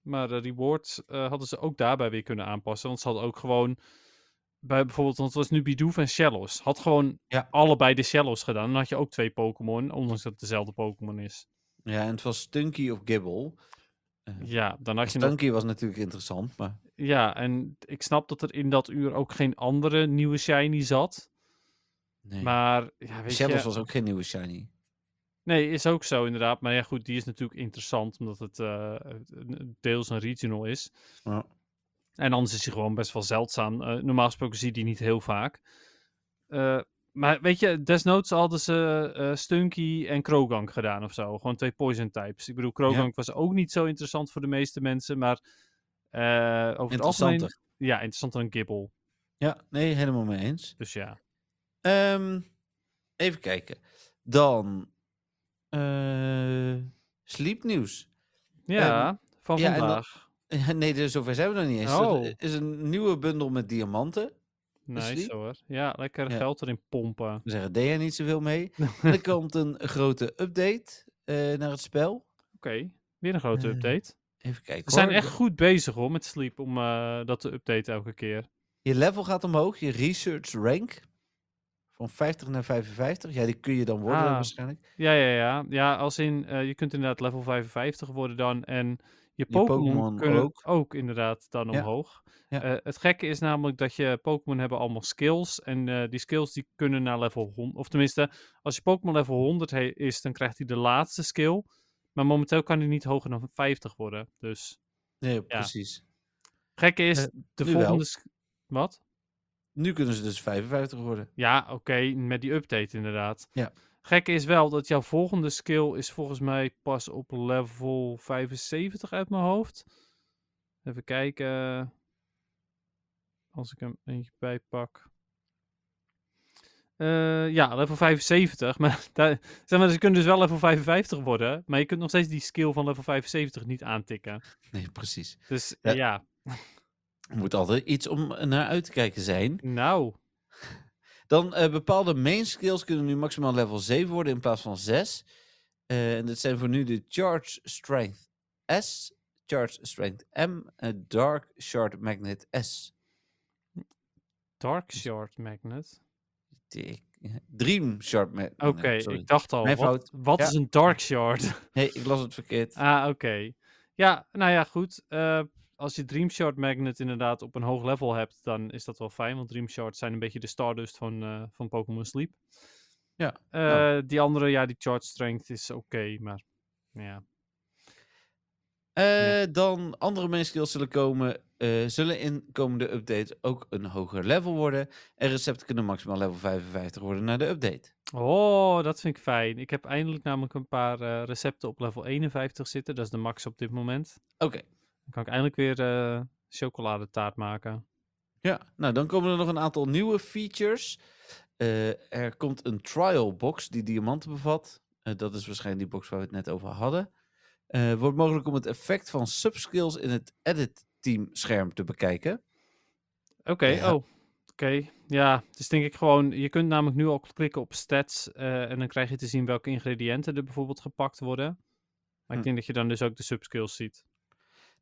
S4: Maar de rewards eh, hadden ze ook daarbij weer kunnen aanpassen. Want ze hadden ook gewoon. Bij bijvoorbeeld, want het was nu Bidoof en Shellos. Had gewoon
S3: Ja.
S4: allebei de Shellos gedaan. Dan had je ook twee Pokémon, ondanks dat het dezelfde Pokémon is.
S3: Ja, en het was Stunky of Gibble.
S4: Ja, dan had je nog
S3: Stunky was natuurlijk interessant, maar
S4: Ja, en ik snap dat er in dat uur ook geen andere nieuwe Shiny zat.
S3: nee.
S4: Maar ja, weet
S3: Shadows
S4: je...
S3: was ook geen nieuwe shiny.
S4: Nee, is ook zo inderdaad. Maar ja, goed, die is natuurlijk interessant omdat het eh, een- deels een regional is.
S3: Ja.
S4: En anders is hij gewoon best wel zeldzaam. Eh, normaal gesproken zie je die niet heel vaak. Eh, maar weet je, desnoods hadden ze eh, Stunky en Krogank gedaan of zo. Gewoon twee poison types. Ik bedoel, Krogank was ook niet zo interessant voor de meeste mensen, maar eh, over het algemeen...
S3: Interessanter.
S4: Ja, interessanter dan Gibbel.
S3: Ja, nee, helemaal mee eens.
S4: Dus ja.
S3: Ehm, even kijken. Dan eh sleepnieuws.
S4: Ja, van
S3: Ehm, ja, en dan-
S4: vandaag.
S3: Ja, nee, dus zover zijn we nog niet eens. Er
S4: Oh.
S3: is een nieuwe bundel met diamanten.
S4: Nice
S3: Sleep?
S4: hoor. Ja, lekker
S3: Ja.
S4: geld erin pompen.
S3: We zeggen, deed jij niet zoveel mee. En er komt een grote update eh, naar het spel.
S4: Oké, weer een grote
S3: Eh,
S4: update.
S3: Even kijken.
S4: We zijn
S3: hoor.
S4: echt goed bezig hoor met Sleep om eh, dat te updaten elke keer.
S3: Je level gaat omhoog, je research rank. Van 50 naar 55. Ja, die kun je dan worden
S4: Ah.
S3: waarschijnlijk.
S4: Ja, ja, ja. Ja, als in eh, je kunt inderdaad level 55 worden dan en je
S3: Je Pokémon
S4: Pokémon kunnen ook.
S3: ook.
S4: inderdaad dan
S3: Ja,
S4: omhoog.
S3: ja.
S4: Eh, het gekke is namelijk dat je Pokémon hebben allemaal skills en eh, die skills die kunnen naar level 100. Of tenminste, als je Pokémon level 100 he- is, dan krijgt hij de laatste skill. Maar momenteel kan hij niet hoger dan 50 worden. Dus
S3: Nee, precies.
S4: gekke is,
S3: Eh,
S4: de
S3: nu wel.
S4: volgende... sk- Wat?
S3: Nu kunnen ze dus 55 worden.
S4: Ja, oké, met die update inderdaad.
S3: Ja.
S4: Gekke is wel dat jouw volgende skill is volgens mij pas op level 75 uit mijn hoofd. Even kijken. Als ik hem eentje bijpak. Eh, ja, level 75. Maar, daar, zeg maar ze kunnen dus wel level 55 worden. Maar je kunt nog steeds die skill van level 75 niet aantikken.
S3: Nee, precies.
S4: Dus
S3: Ja.
S4: ja,
S3: Er moet altijd iets om naar uit te kijken zijn.
S4: nou.
S3: Dan eh, bepaalde main skills kunnen nu maximaal level 7 worden in plaats van 6. Eh, en dat zijn voor nu de Charge Strength S, Charge Strength M en Dark Shard Magnet S.
S4: Dark Shard Magnet.
S3: Die- eh, Dream Shard Magnet.
S4: Oké,
S3: sorry.
S4: ik dacht al.
S3: Mijn
S4: Wat,
S3: fout.
S4: wat
S3: Ja.
S4: is een Dark Shard?
S3: Nee, ik las het verkeerd.
S4: Ah, oké. Ja, nou ja, goed. Eh, als je Dream Shard Magnet inderdaad op een hoog level hebt, dan is dat wel fijn. Want Dream Shards zijn een beetje de Stardust van, eh, van Pokémon Sleep.
S3: Ja,
S4: Eh,
S3: nou.
S4: Die andere, ja, die Charge Strength is oké, maar ja.
S3: Eh, Dan andere main skills zullen komen, eh, zullen in komende update ook een hoger level worden. En recepten kunnen maximaal level 55 worden na de update.
S4: Oh, dat vind ik fijn. Ik heb eindelijk namelijk een paar eh, recepten op level 51 zitten. Dat is de max op dit moment.
S3: Oké,
S4: Dan kan ik eindelijk weer eh, chocoladetaart maken.
S3: ja. Nou, dan komen er nog een aantal nieuwe features. Eh, er komt een trial box die diamanten bevat. Eh, dat is waarschijnlijk die box waar we het net over hadden. Eh, wordt mogelijk om het effect van subskills in het edit team scherm te bekijken.
S4: Oké,
S3: Ja.
S4: oh. Oké, ja. Dus denk ik gewoon, je kunt namelijk nu al klikken op stats eh, en dan krijg je te zien welke ingrediënten er bijvoorbeeld gepakt worden. Maar
S3: Hm.
S4: ik denk dat je dan dus ook de subskills ziet.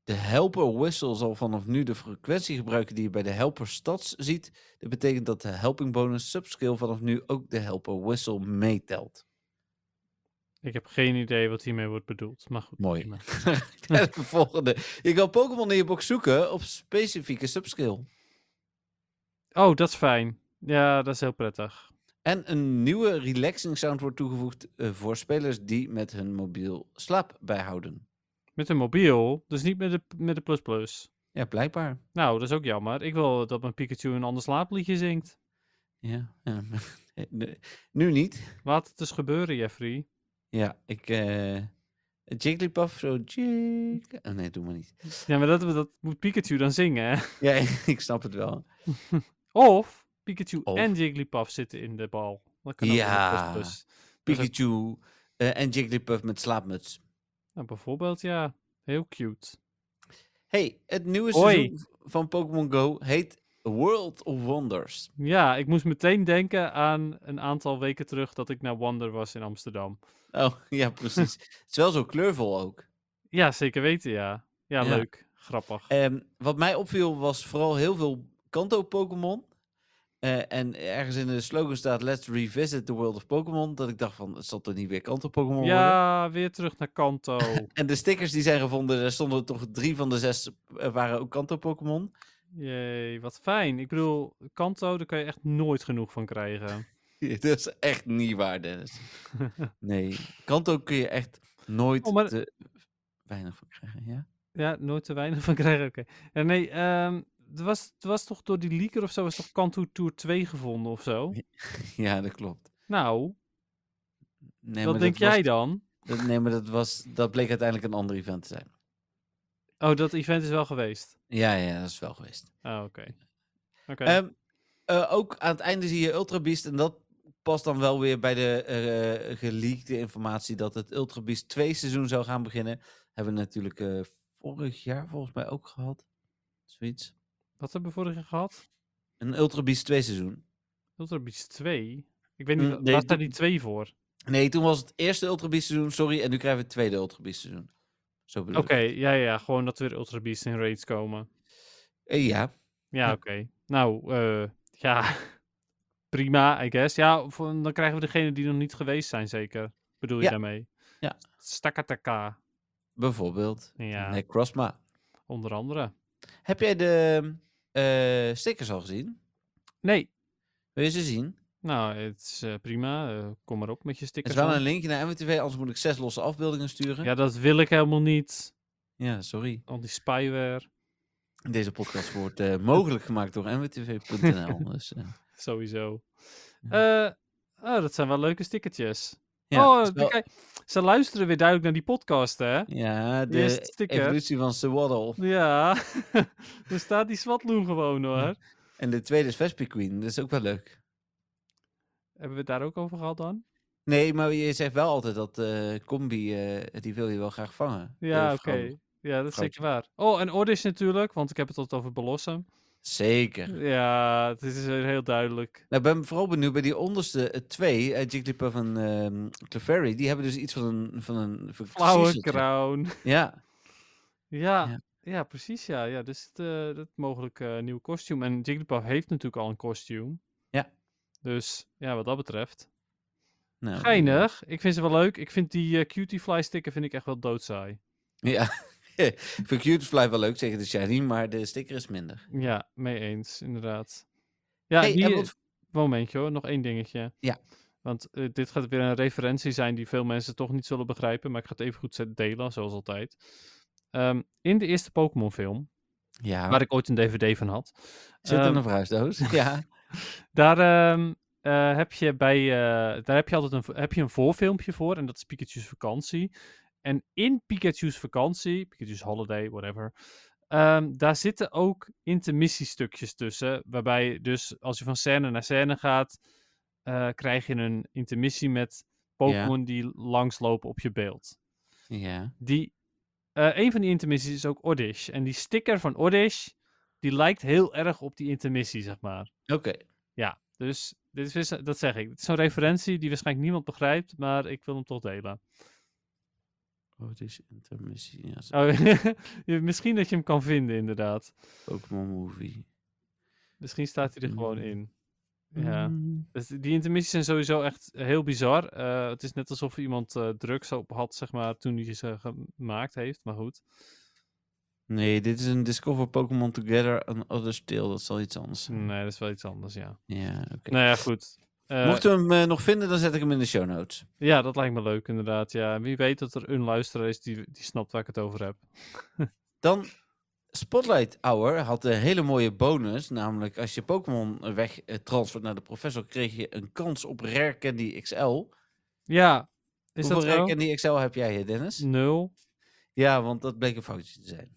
S3: De helper whistle zal vanaf nu de frequentie gebruiken die je bij de helper stats ziet. Dit betekent dat de helping bonus subskill vanaf nu ook de helper whistle meetelt.
S4: Ik heb geen idee wat hiermee wordt bedoeld, maar goed.
S3: Mooi.
S4: prima.
S3: de volgende. Je kan Pokémon in je box zoeken op specifieke subskill.
S4: Oh, dat is fijn. Ja, dat is heel prettig.
S3: En een nieuwe relaxing sound wordt toegevoegd eh, voor spelers die met hun mobiel slaap bijhouden.
S4: Met een mobiel, dus niet met de, met de plus plus.
S3: Ja, blijkbaar.
S4: Nou, dat is ook jammer. Ik wil dat mijn Pikachu een ander slaapliedje zingt.
S3: Ja. ja. Nee, nu niet.
S4: Laat het dus gebeuren, Jeffrey.
S3: Ja, ik... eh Jigglypuff, zo... Jig... Oh, nee, doe maar niet.
S4: Ja, maar dat, dat moet Pikachu dan zingen, hè?
S3: Ja, ik snap het wel.
S4: Of Pikachu
S3: Of-
S4: en Jigglypuff zitten in de bal. Dat kan ook in de
S3: Ja.
S4: postbus. Dat is ook-
S3: Pikachu eh, en Jigglypuff met slaapmuts.
S4: nou, bijvoorbeeld, ja. Heel cute.
S3: Hey, het nieuwe
S4: Hoi.
S3: seizoen van Pokémon Go heet World of Wonders.
S4: Ja, ik moest meteen denken aan een aantal weken terug dat ik naar Wander was in Amsterdam.
S3: Oh, ja, precies. het is wel zo kleurvol ook.
S4: Ja, zeker weten, ja. Ja,
S3: Ja.
S4: leuk. Grappig.
S3: Ehm, wat mij opviel was vooral heel veel Kanto-Pokémon. Eh, en ergens in de slogan staat Let's revisit the world of Pokémon. Dat ik dacht van, het zal toch niet weer Kanto-Pokémon worden?
S4: Ja, weer terug naar Kanto.
S3: En de stickers die zijn gevonden, daar stonden toch drie van de zes eh, waren ook Kanto-Pokémon.
S4: Jee, wat fijn. Ik bedoel, Kanto, daar kan je echt nooit genoeg van krijgen.
S3: Dat is echt niet waar, Dennis. Nee, Kanto kun je echt nooit
S4: Oh, maar-
S3: te weinig van krijgen, ja?
S4: Ja, nooit te weinig van krijgen, oké. Ja, nee, ehm er, was, er was toch door die leaker of zo, was toch Kanto Tour 2 gevonden of zo?
S3: Ja, dat klopt.
S4: Nou,
S3: Nee,
S4: wat
S3: maar
S4: denk
S3: dat
S4: jij
S3: was-
S4: dan?
S3: dat- nee, maar dat, was, dat bleek uiteindelijk een ander event te zijn.
S4: Oh, dat event is wel geweest.
S3: Ja, ja, dat is wel geweest.
S4: Oh, oké. Oké.
S3: Ehm, eh, ook aan het einde zie je Ultra Beast. En dat past dan wel weer bij de eh geleakte informatie dat het Ultra Beast 2 seizoen zou gaan beginnen. Hebben we natuurlijk eh, vorig jaar volgens mij ook gehad. Zoiets.
S4: Wat hebben we vorig jaar gehad?
S3: Een Ultra Beast 2 seizoen.
S4: Ultra Beast 2? Ik weet niet,
S3: Mm,
S4: wa-
S3: nee,
S4: waar staat
S3: die-
S4: die 2 voor?
S3: Nee, toen was het eerste Ultra Beast seizoen, sorry. En nu krijgen we het tweede Ultra Beast seizoen. Zo
S4: Oké,
S3: bedoel ik.
S4: ja, ja, ja, gewoon dat er weer Ultra Beasts in raids komen.
S3: Eh, ja.
S4: Ja,
S3: Ja.
S4: oké. Nou, eh, ja, prima, I guess. Ja, voor- dan krijgen we degene die nog niet geweest zijn, zeker. Bedoel je
S3: Ja.
S4: daarmee?
S3: Ja.
S4: Stakataka,
S3: Bijvoorbeeld.
S4: Ja.
S3: Necrozma.
S4: onder andere.
S3: Heb jij de eh, stickers al gezien?
S4: Nee,
S3: Wil je ze zien?
S4: nou, het is eh, prima. eh, kom maar op met
S3: Het
S4: je
S3: is
S4: stickers.
S3: wel
S4: man.
S3: een linkje naar MWTV, anders moet ik zes losse afbeeldingen sturen.
S4: Ja, dat wil ik helemaal niet.
S3: Ja, sorry.
S4: Al die spyware,
S3: Deze podcast wordt eh, mogelijk gemaakt door mwtv.nl. dus, eh,
S4: sowieso.
S3: Ja.
S4: Eh, oh, dat zijn wel leuke stickertjes.
S3: ja,
S4: oh,
S3: het is wel-
S4: kijk, ze luisteren weer duidelijk naar die podcast, hè?
S3: ja,
S4: die is
S3: de
S4: sticker.
S3: evolutie van Swaddle.
S4: Ja, er staat die Swatloon gewoon hoor.
S3: En de tweede is Vespi Queen, dat is ook wel leuk.
S4: Hebben we het daar ook over gehad dan?
S3: Nee, maar je zegt wel altijd dat eh, combi, eh, die wil je wel graag vangen. De
S4: Ja, oké.
S3: vrouw.
S4: Ja, dat is
S3: vrouwtje.
S4: zeker waar. Oh, en Ordis natuurlijk, want ik heb het altijd over Belossum.
S3: Zeker.
S4: Ja, het is weer heel duidelijk.
S3: Nou, ik ben vooral benieuwd bij die onderste eh, twee, eh, Jigglypuff en ehm Clefairy, die hebben dus iets van een... Van een
S4: Flower
S3: verkiezeltje.
S4: Crown.
S3: Ja,
S4: Ja,
S3: Ja.
S4: ja. precies ja. ja dus het, eh, dat mogelijk eh nieuw kostuum. En Jigglypuff heeft natuurlijk al een kostuum.
S3: Ja.
S4: Dus ja, wat dat betreft.
S3: nou,
S4: Geinig. Ik vind ze wel leuk. Ik vind die eh, cutie fly sticker vind ik echt wel doodzaai.
S3: Ja, ik vind Cutefly wel leuk, zeker de shiny, maar de sticker is minder.
S4: Ja, mee eens, inderdaad. Ja,
S3: Hey, en
S4: die, eh,
S3: wat-
S4: Momentje hoor, nog één dingetje.
S3: Ja.
S4: Want eh, dit gaat weer een referentie zijn die veel mensen toch niet zullen begrijpen, maar ik ga het even goed zet- delen, zoals altijd. Ehm, in de eerste Pokémon film,
S3: ja,
S4: waar ik ooit een DVD van had,
S3: zit in
S4: ehm,
S3: een verhuisdoos. ja,
S4: daar, ehm, eh, heb je bij, eh, daar heb je altijd een, vo- heb je een voorfilmpje voor, en dat is Pikachu's vakantie. En in Pikachu's vakantie, Pikachu's holiday, whatever, ehm, daar zitten ook intermissiestukjes tussen. Waarbij dus als je van scène naar scène gaat, eh, krijg je een intermissie met Pokémon die langslopen op je beeld.
S3: ja.
S4: Die, eh, een van die intermissies is ook Oddish. En die sticker van Oddish, die lijkt heel erg op die intermissie, zeg maar.
S3: Oké,
S4: Ja, dus dit is, weer zo- dat zeg ik. Het is zo'n referentie die waarschijnlijk niemand begrijpt, maar ik wil hem toch delen.
S3: oh, het is intermissie, ja,
S4: Oh, je- misschien dat je hem kan vinden, inderdaad.
S3: Pokémon Movie.
S4: Misschien staat hij er gewoon
S3: Mm.
S4: in. Ja.
S3: Mm,
S4: Dus die intermissies zijn sowieso echt heel bizar. Eh, het is net alsof iemand eh, drugs op had, zeg maar, toen hij ze gemaakt heeft. Maar goed.
S3: Nee, dit is een Discover Pokémon Together and Others Tale, dat zal iets anders zijn.
S4: Nee, dat is wel iets anders, ja.
S3: Ja, Mm. oké.
S4: Nou ja, goed. Eh,
S3: Mochten we hem eh, nog vinden, dan zet ik hem in de show notes.
S4: Ja, dat lijkt me leuk, inderdaad. Ja. Wie weet dat er een luisteraar is die, die snapt waar ik het over heb.
S3: Dan, Spotlight Hour had een hele mooie bonus. Namelijk, als je Pokémon wegtransfert naar de professor, kreeg je een kans op Rare Candy XL.
S4: Ja, is
S3: Hoeveel
S4: dat
S3: Rare
S4: zo?
S3: Candy XL heb jij, eh, Dennis?
S4: Nul.
S3: Ja, want dat bleek een foutje te zijn.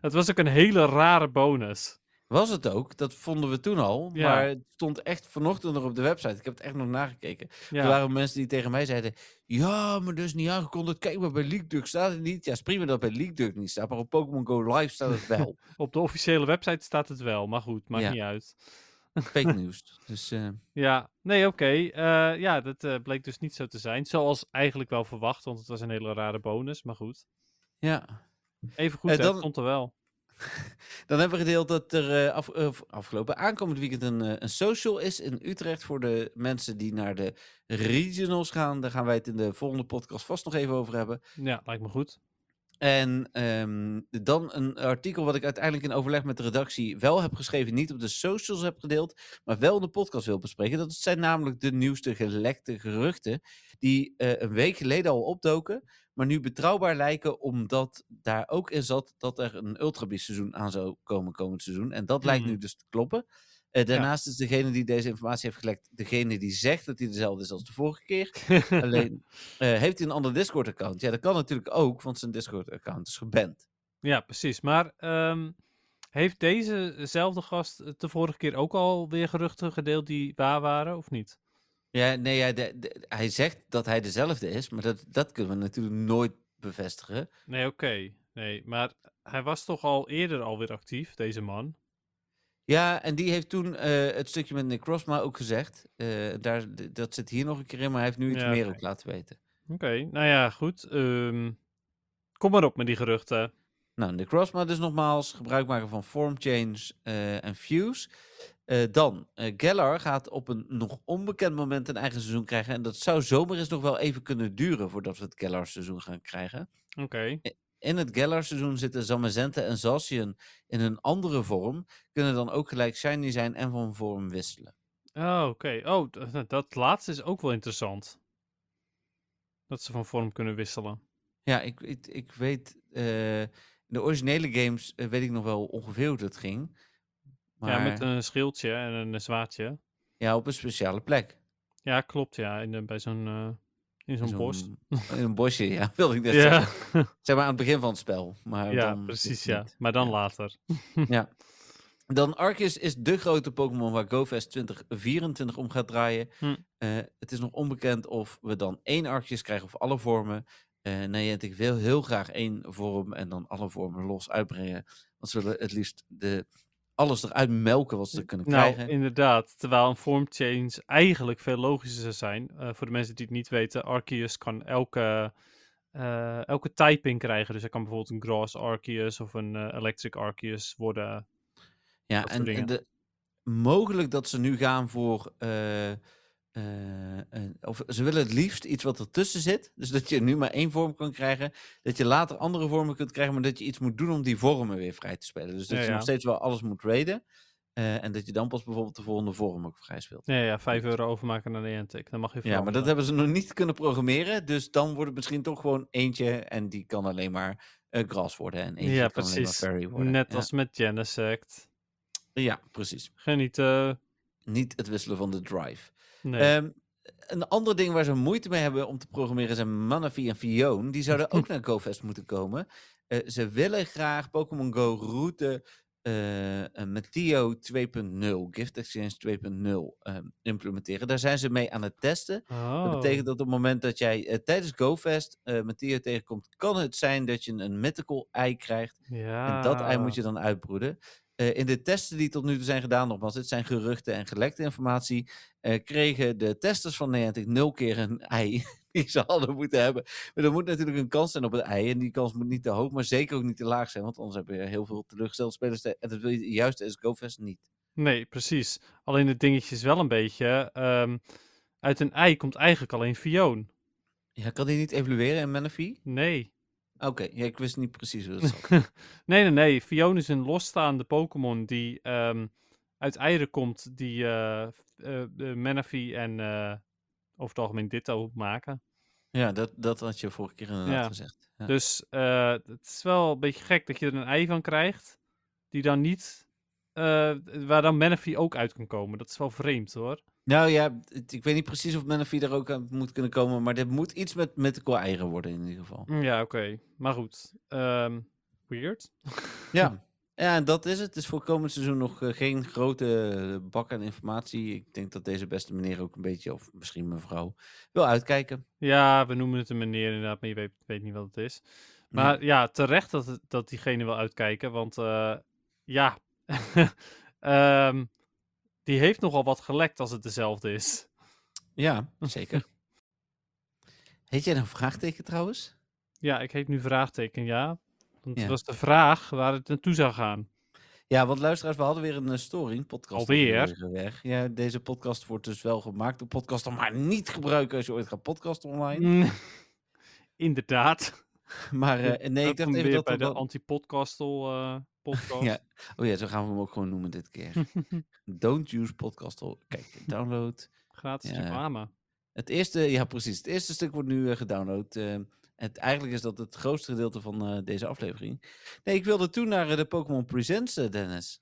S4: het was ook een hele rare bonus.
S3: Was het ook, dat vonden we toen al.
S4: Ja.
S3: Maar het stond echt vanochtend nog op de website. Ik heb het echt nog nagekeken.
S4: Ja.
S3: Er waren mensen die tegen mij zeiden: Ja, maar dat is niet aangekondigd. Kijk maar, bij League Duck staat het niet. Ja, is prima dat het bij League Duck niet staat. Maar op Pokémon Go Live staat het wel.
S4: Op de officiële website staat het wel, maar goed, maakt
S3: Ja.
S4: niet uit.
S3: Fake nieuws. Dus eh,
S4: Ja, nee, oké. Eh, ja, dat eh, bleek dus niet zo te zijn. Zoals eigenlijk wel verwacht, want het was een hele rare bonus. Maar goed,
S3: ja.
S4: even goed,
S3: Eh,
S4: hè,
S3: dan-
S4: het komt er wel.
S3: Dan hebben we gedeeld dat er eh, af, eh, afgelopen aankomend weekend een, eh, een social is in Utrecht. Voor de mensen die naar de regionals gaan. Daar gaan wij het in de volgende podcast vast nog even over hebben.
S4: Ja, lijkt me goed.
S3: En ehm, dan een artikel wat ik uiteindelijk in overleg met de redactie wel heb geschreven. Niet op de socials heb gedeeld, maar wel in de podcast wil bespreken. Dat zijn namelijk de nieuwste gelekte geruchten. Die eh, een week geleden al opdoken, maar nu betrouwbaar lijken. Omdat daar ook in zat dat er een ultrabies seizoen aan zou komen komend seizoen. En dat lijkt nu
S4: Mhm.
S3: dus te kloppen. Eh, daarnaast is degene die deze informatie heeft gelekt, degene die zegt dat hij dezelfde is als de vorige keer. Alleen, eh, heeft hij een ander Discord-account? Ja, dat kan natuurlijk ook, want zijn Discord-account is geband.
S4: Ja, precies. Maar ehm, heeft dezezelfde gast het de vorige keer ook alweer geruchten gedeeld die waar waren, of niet?
S3: Ja, nee, hij, de- de- hij zegt dat hij dezelfde is, maar dat, dat kunnen we natuurlijk nooit bevestigen.
S4: Nee, oké. Nee, maar hij was toch al eerder alweer actief, deze man?
S3: Ja, en die heeft toen eh, het stukje met Nick Crossma ook gezegd. Eh, daar, d- dat zit hier nog een keer in, maar hij heeft nu iets
S4: Ja,
S3: meer
S4: oké.
S3: ook laten weten.
S4: Oké, nou ja, goed. ehm, kom maar op met die geruchten.
S3: Nou, Nick Crossma dus nogmaals, gebruik maken van Form Change eh, en Fuse. Eh, dan, eh Gellar gaat op een nog onbekend moment een eigen seizoen krijgen. En dat zou zomaar eens nog wel even kunnen duren voordat we het Gellar seizoen gaan krijgen.
S4: Oké.
S3: in het Gellar-seizoen zitten Zamazenta en Zacian in een andere vorm, kunnen dan ook gelijk shiny zijn en van vorm wisselen.
S4: Oh, oké. Oh, d- nou, dat laatste is ook wel interessant. Dat ze van vorm kunnen wisselen.
S3: Ja, ik, ik, ik weet, eh, in de originele games eh, weet ik nog wel ongeveer hoe dat ging. Maar
S4: Ja, met een schildje en een zwaardje.
S3: ja, op een speciale plek.
S4: Ja, klopt, ja. In de- bij zo'n... eh, in zo'n bos.
S3: In een bosje, ja, wilde ik net
S4: Ja,
S3: zeggen. Zeg maar aan het begin van het spel. Maar
S4: ja
S3: dan dus
S4: precies, ja.
S3: niet.
S4: Maar dan
S3: Ja.
S4: later.
S3: Dan Arceus is de grote Pokémon waar GoFest 2024 om gaat draaien.
S4: Hm.
S3: Eh, het is nog onbekend of we dan één Arceus krijgen of alle vormen. Eh Niantic wil heel graag één vorm en dan alle vormen los uitbrengen. Want ze willen het liefst de, alles eruit melken wat ze er kunnen
S4: Nou,
S3: krijgen.
S4: inderdaad. Terwijl een form change eigenlijk veel logischer zou zijn. Eh, voor de mensen die het niet weten, Arceus kan elke, eh, elke typing krijgen. Dus hij kan bijvoorbeeld een Grass Arceus of een eh, Electric Arceus worden.
S3: ja,
S4: dat
S3: en
S4: soort
S3: en
S4: dingen.
S3: de, mogelijk dat ze nu gaan voor... eh, eh, een- of ze willen het liefst iets wat ertussen zit. Dus dat je nu maar één vorm kan krijgen. Dat je later andere vormen kunt krijgen. Maar dat je iets moet doen om die vormen weer vrij te spelen. Dus dat
S4: Ja,
S3: je nog
S4: ja.
S3: steeds wel alles moet raiden. eh, en dat je dan pas bijvoorbeeld de volgende vorm ook vrij speelt.
S4: Ja, ja, 5 euro overmaken naar Niantic. Dan mag je
S3: Ja, maar dat
S4: veranderen.
S3: hebben ze nog niet kunnen programmeren. Dus dan wordt het misschien toch gewoon eentje. En die kan alleen maar eh gras worden. En eentje
S4: Ja,
S3: kan
S4: precies.
S3: alleen maar fairy worden.
S4: Net
S3: ja.
S4: als met Genesect.
S3: Ja, precies.
S4: Genieten.
S3: Niet het wisselen van de drive.
S4: Nee.
S3: Ehm, een ander ding waar ze moeite mee hebben om te programmeren zijn Manaphy en Fionn. Die zouden ook naar GoFest moeten komen. Eh, ze willen graag Pokémon Go route eh, eh, met Theo 2.0, Gift Exchange 2.0 ehm, implementeren. Daar zijn ze mee aan het testen.
S4: Oh,
S3: Dat betekent dat op het moment dat jij eh, tijdens GoFest eh met Theo tegenkomt, kan het zijn dat je een mythical ei krijgt.
S4: ja.
S3: En dat ei moet je dan uitbroeden. Eh, in de testen die tot nu toe zijn gedaan, nogmaals, dit zijn geruchten en gelekte informatie, eh, kregen de testers van Niantic nul keer een ei die ze hadden moeten hebben. Maar er moet natuurlijk een kans zijn op het ei en die kans moet niet te hoog, maar zeker ook niet te laag zijn, want anders heb je heel veel teleurgestelde spelers te- en dat wil je juist als GoFest niet.
S4: Nee, precies. Alleen het dingetje is wel een beetje... ehm, uit een ei komt eigenlijk alleen Fioon.
S3: Ja, kan die niet evalueren in Manaphy?
S4: Nee.
S3: Oké, ja, ik wist niet precies hoe dat zat.
S4: Nee, nee, nee. Fionn is een losstaande Pokémon die ehm, uit eieren komt die eh eh, eh, Manaphy en eh, over het algemeen Ditto maken.
S3: Ja, dat, dat had je vorige keer inderdaad
S4: Ja.
S3: gezegd. Ja.
S4: Dus eh, het is wel een beetje gek dat je er een ei van krijgt die dan niet... eh, waar dan Manaphy ook uit kan komen. Dat is wel vreemd hoor.
S3: Nou ja, het- ik weet niet precies of Manaphy er ook aan moet kunnen komen, maar dit moet iets met mythical eieren worden in ieder geval.
S4: Ja, oké. Maar goed. Ehm, weird.
S3: Ja. Ja, en dat is het. Het is voor komend seizoen nog eh, geen grote bak aan informatie. Ik denk dat deze beste meneer ook een beetje, of misschien mevrouw, wil uitkijken.
S4: Ja, we noemen het een meneer inderdaad, maar je weet, weet niet wat het is. Maar ja, terecht dat, het- dat diegene wil uitkijken, want eh, ja, Ehm, die heeft nogal wat gelekt als het dezelfde is.
S3: Ja, zeker. Heet jij nou een vraagteken trouwens?
S4: Ja, ik heet nu vraagteken, ja. Want
S3: Ja.
S4: het was de vraag waar het naartoe zou gaan.
S3: Ja, want luisteraars, we hadden weer een eh, storing. Podcast is
S4: Alweer?
S3: weer Weg. Ja, deze podcast wordt dus wel gemaakt door podcaster, maar niet gebruiken als je ooit gaat podcasten online.
S4: Inderdaad.
S3: Maar eh, nee, ik dacht
S4: dat komt
S3: even
S4: weer
S3: dat
S4: bij
S3: we
S4: de
S3: dan...
S4: anti-podcastel eh, podcast.
S3: Ja. Oh ja, zo gaan we hem ook gewoon noemen dit keer. Don't use podcastel. Kijk, download.
S4: Gratis
S3: Ja.
S4: reclame.
S3: Het eerste, ja precies. Het eerste stuk wordt nu eh, gedownload. Eh, het, eigenlijk is dat het grootste gedeelte van eh, deze aflevering. Nee, ik wilde toen naar eh, de Pokémon Presents, eh, Dennis.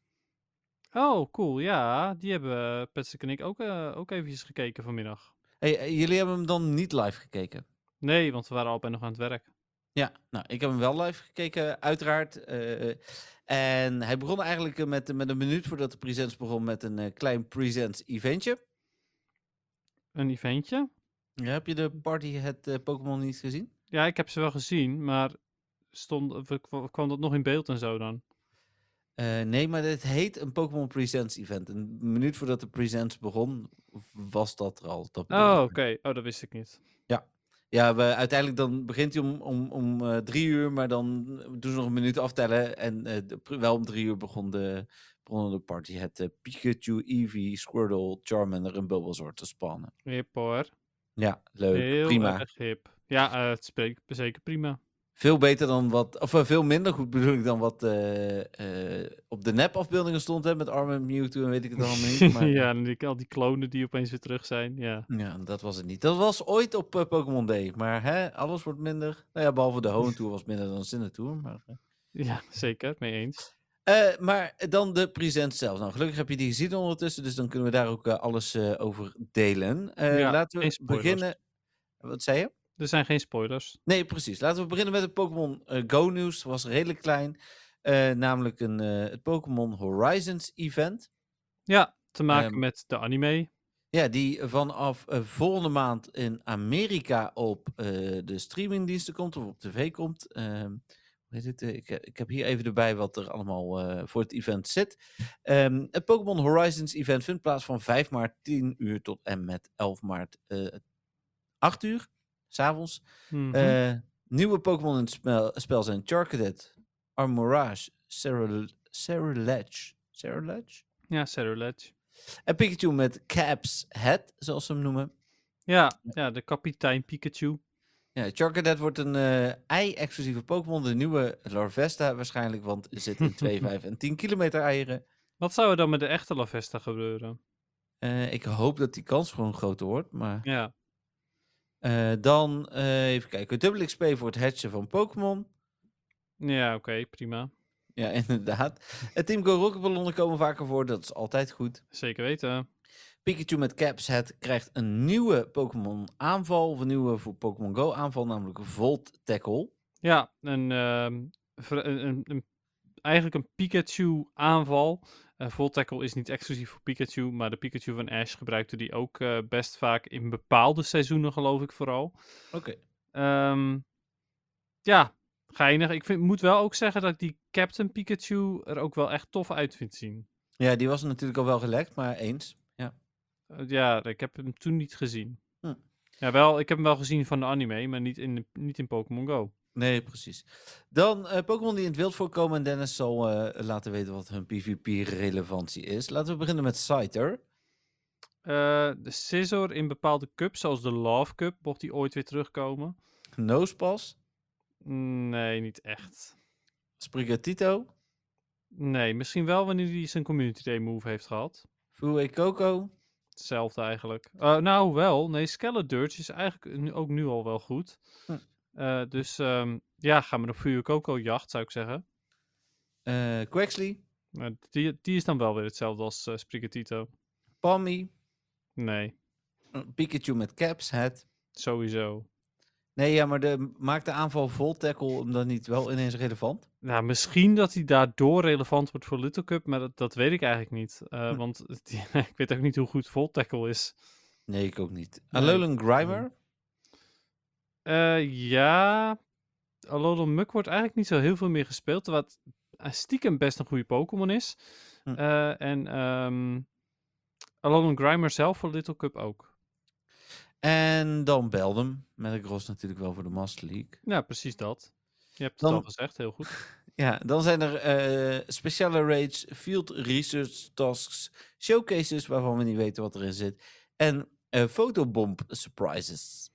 S4: Oh, cool. Ja, die hebben Patrick en ik ook, eh, ook eventjes gekeken vanmiddag.
S3: Hey, eh, jullie hebben hem dan niet live gekeken?
S4: Nee, want we waren allebei nog aan het werk.
S3: Ja, nou, ik heb hem wel live gekeken, uiteraard. eh, en hij begon eigenlijk eh, met, met een minuut voordat de Presents begon met een eh, klein Presents eventje.
S4: Een eventje?
S3: Ja, heb je de party het eh, Pokémon niet gezien?
S4: Ja, ik heb ze wel gezien, maar stond, we- we- kwam dat nog in beeld en zo dan?
S3: Eh, nee, maar het heet een Pokémon Presents event. Een minuut voordat de Presents begon, was dat er al. Dat bedoelde
S4: Oh,
S3: ik.
S4: oké. Oh, dat wist ik niet.
S3: Ja, we, uiteindelijk dan begint hij om, om, om eh, drie uur, maar dan eh, doen ze nog een minuut aftellen. En eh, de- pr- wel om drie uur begon de, begonnen de party het eh, Pikachu, Eevee, Squirtle, Charmander en Bulbasaur te spannen.
S4: Hip hoor.
S3: Ja, leuk,
S4: Heel
S3: prima.
S4: erg hip. Ja, eh, het spreekt zeker prima.
S3: Veel beter dan wat, of eh, veel minder goed bedoel ik dan wat eh, eh, op de nep-afbeeldingen stond, hè, met Arm en Mewtwo en weet ik het allemaal niet. Maar,
S4: ja, en die, al die klonen die opeens weer terug zijn. Ja.
S3: Ja, dat was het niet. Dat was ooit op eh, Pokémon Day, maar hè, alles wordt minder. Nou ja, behalve de Hoentour was minder dan Sinnoh-tour, maar... eh.
S4: ja, zeker. Mee eens.
S3: Eh, maar dan de present zelf. Nou, gelukkig heb je die gezien ondertussen, dus dan kunnen we daar ook eh, alles eh, over delen. Eh,
S4: Ja,
S3: laten
S4: geen
S3: we
S4: spoilers.
S3: beginnen. Wat zei je?
S4: Er zijn geen spoilers.
S3: Nee, precies. Laten we beginnen met het Pokémon eh, Go nieuws. Was redelijk klein. Eh, namelijk een, eh, het Pokémon Horizons event.
S4: Ja, te maken
S3: Ehm,
S4: met de anime.
S3: Ja, die vanaf eh, volgende maand in Amerika op eh, de streamingdiensten komt of op tv komt. Ehm, hoe heet het? Eh, ik, ik heb hier even erbij wat er allemaal eh, voor het event zit. Ehm, het Pokémon Horizons event vindt plaats van 5 maart 10 uur tot en met 11 maart eh 8 uur, s'avonds.
S4: Mhm.
S3: Eh, nieuwe Pokémon in het spel, spel zijn Charcadet, Armorage, Cerul- Cerulege. Cerulege?
S4: ja, Sarah Ledge.
S3: En Pikachu met Caps Head, zoals ze hem noemen.
S4: Ja, ja, de kapitein Pikachu.
S3: Ja, Charcadet wordt een eh, ei-exclusieve Pokémon. De nieuwe Larvesta waarschijnlijk, want er zit in 2, 5 en 10 kilometer eieren.
S4: Wat zou er dan met de echte Lavesta gebeuren?
S3: Eh, ik hoop dat die kans gewoon groter wordt. Maar,
S4: Ja.
S3: Eh, dan eh, even kijken. Dubbel XP voor het hatchen van Pokémon.
S4: Ja, oké, prima.
S3: Ja, inderdaad. Het Team Go Rocketballonnen komen vaker voor. Dat is altijd goed.
S4: Zeker weten.
S3: Pikachu met Caps Head krijgt een nieuwe Pokémon aanval. Of een nieuwe voor Pokémon Go aanval, namelijk Volt Tackle.
S4: Ja, een, ehm, ver- een, een, een- eigenlijk een Pikachu aanval. Eh Full Tackle is niet exclusief voor Pikachu, maar de Pikachu van Ash gebruikte die ook eh, best vaak in bepaalde seizoenen, geloof ik vooral.
S3: Oké.
S4: Ehm, ja, geinig. Ik vind, moet wel ook zeggen dat ik die Captain Pikachu er ook wel echt tof uit vind zien.
S3: Ja, die was natuurlijk al wel gelekt, maar eens. Ja.
S4: Eh, ja, ik heb hem toen niet gezien.
S3: Hm.
S4: Ja, wel, ik heb hem wel gezien van de anime, maar niet in, de- niet in Pokémon Go.
S3: Nee, precies. Dan eh, Pokémon die in het wild voorkomen. En Dennis zal eh, laten weten wat hun PvP-relevantie is. Laten we beginnen met Scyther.
S4: Eh, de Scizor in bepaalde cups, zoals de Love Cup, mocht die ooit weer terugkomen.
S3: Nosepass.
S4: Nee, niet echt.
S3: Sprigatito.
S4: Nee, misschien wel wanneer hij zijn Community Day move heeft gehad.
S3: Fue Coco.
S4: Hetzelfde eigenlijk. Eh, nou, wel. Nee, Skeledurge is eigenlijk nu, ook nu al wel goed.
S3: Hm.
S4: Eh, dus ehm, ja, ga maar op Fuyu Coco jacht, zou ik zeggen.
S3: eh Quaxley.
S4: Maar die, die is dan wel weer hetzelfde als eh Sprigatito.
S3: Palmy.
S4: Nee,
S3: eh, Pikachu met Caps Head.
S4: sowieso.
S3: Nee, ja, maar de, maakt de aanval vol tackle hem dan niet wel ineens relevant?
S4: Nou, misschien dat hij daardoor relevant wordt voor Little Cup, maar dat, dat weet ik eigenlijk niet. Eh,
S3: Hm.
S4: Want het- ik weet ook niet hoe goed vol tackle is.
S3: Nee, ik ook niet.
S4: Nee.
S3: Alolan Grimer?
S4: Eh, ja, Alolan Muk wordt eigenlijk niet zo heel veel meer gespeeld, terwijl het eh, stiekem best een goede Pokémon is.
S3: Hm.
S4: Eh, en ehm Alolan Grimer zelf voor Little Cup ook.
S3: En dan Beldum. Metagross natuurlijk wel voor de Master League.
S4: Ja, precies dat. Je hebt het
S3: Dan-
S4: al gezegd, heel goed.
S3: Ja, dan zijn er eh, speciale raids, field research tasks, showcases waarvan we niet weten wat erin zit. En eh fotobomb surprises.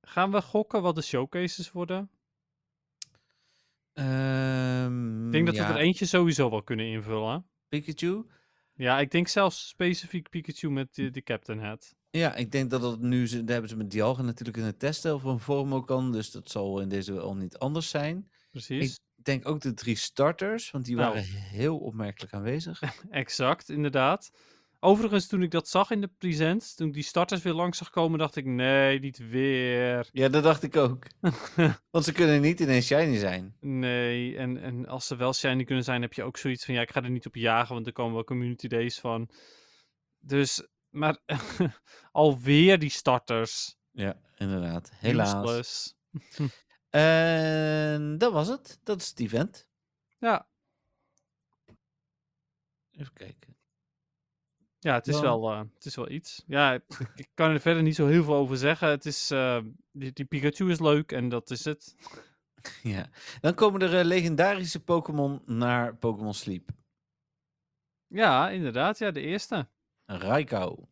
S4: Gaan we gokken wat de showcases worden? Ik
S3: Hm,
S4: denk dat we er eentje sowieso wel kunnen invullen.
S3: Ehm, Pikachu.
S4: Ja, ik denk zelfs specifiek Pikachu met die, die Captain Hat.
S3: Ja, ik denk dat dat nu... ze- Daar hebben ze met Dialga natuurlijk in het testen of een Vormo kan. Dus dat zal in deze al niet anders zijn.
S4: Precies.
S3: Ik denk ook de drie starters, want die
S4: Nou.
S3: waren heel opmerkelijk aanwezig.
S4: Exact, inderdaad. Overigens, toen ik dat zag in de present, toen ik die starters weer langs zag komen, dacht ik, nee, niet weer.
S3: ja, dat dacht ik ook. want ze kunnen niet ineens shiny zijn.
S4: Nee, en, en als ze wel shiny kunnen zijn, heb je ook zoiets van, ja, ik ga er niet op jagen, want er komen wel community days van. Dus, maar alweer die starters.
S3: Ja, inderdaad. Helaas.
S4: Useless.
S3: En dat was het. Dat is het event.
S4: Ja,
S3: Even kijken.
S4: ja het, is
S3: Dan-
S4: wel, eh, het is wel iets. Ja, ik, ik kan er verder niet zo heel veel over zeggen. Het is, eh, die, die Pikachu is leuk en dat is het.
S3: Ja. Dan komen er eh, legendarische Pokémon naar Pokémon Sleep.
S4: Ja, inderdaad, ja, de eerste.
S3: Raikou.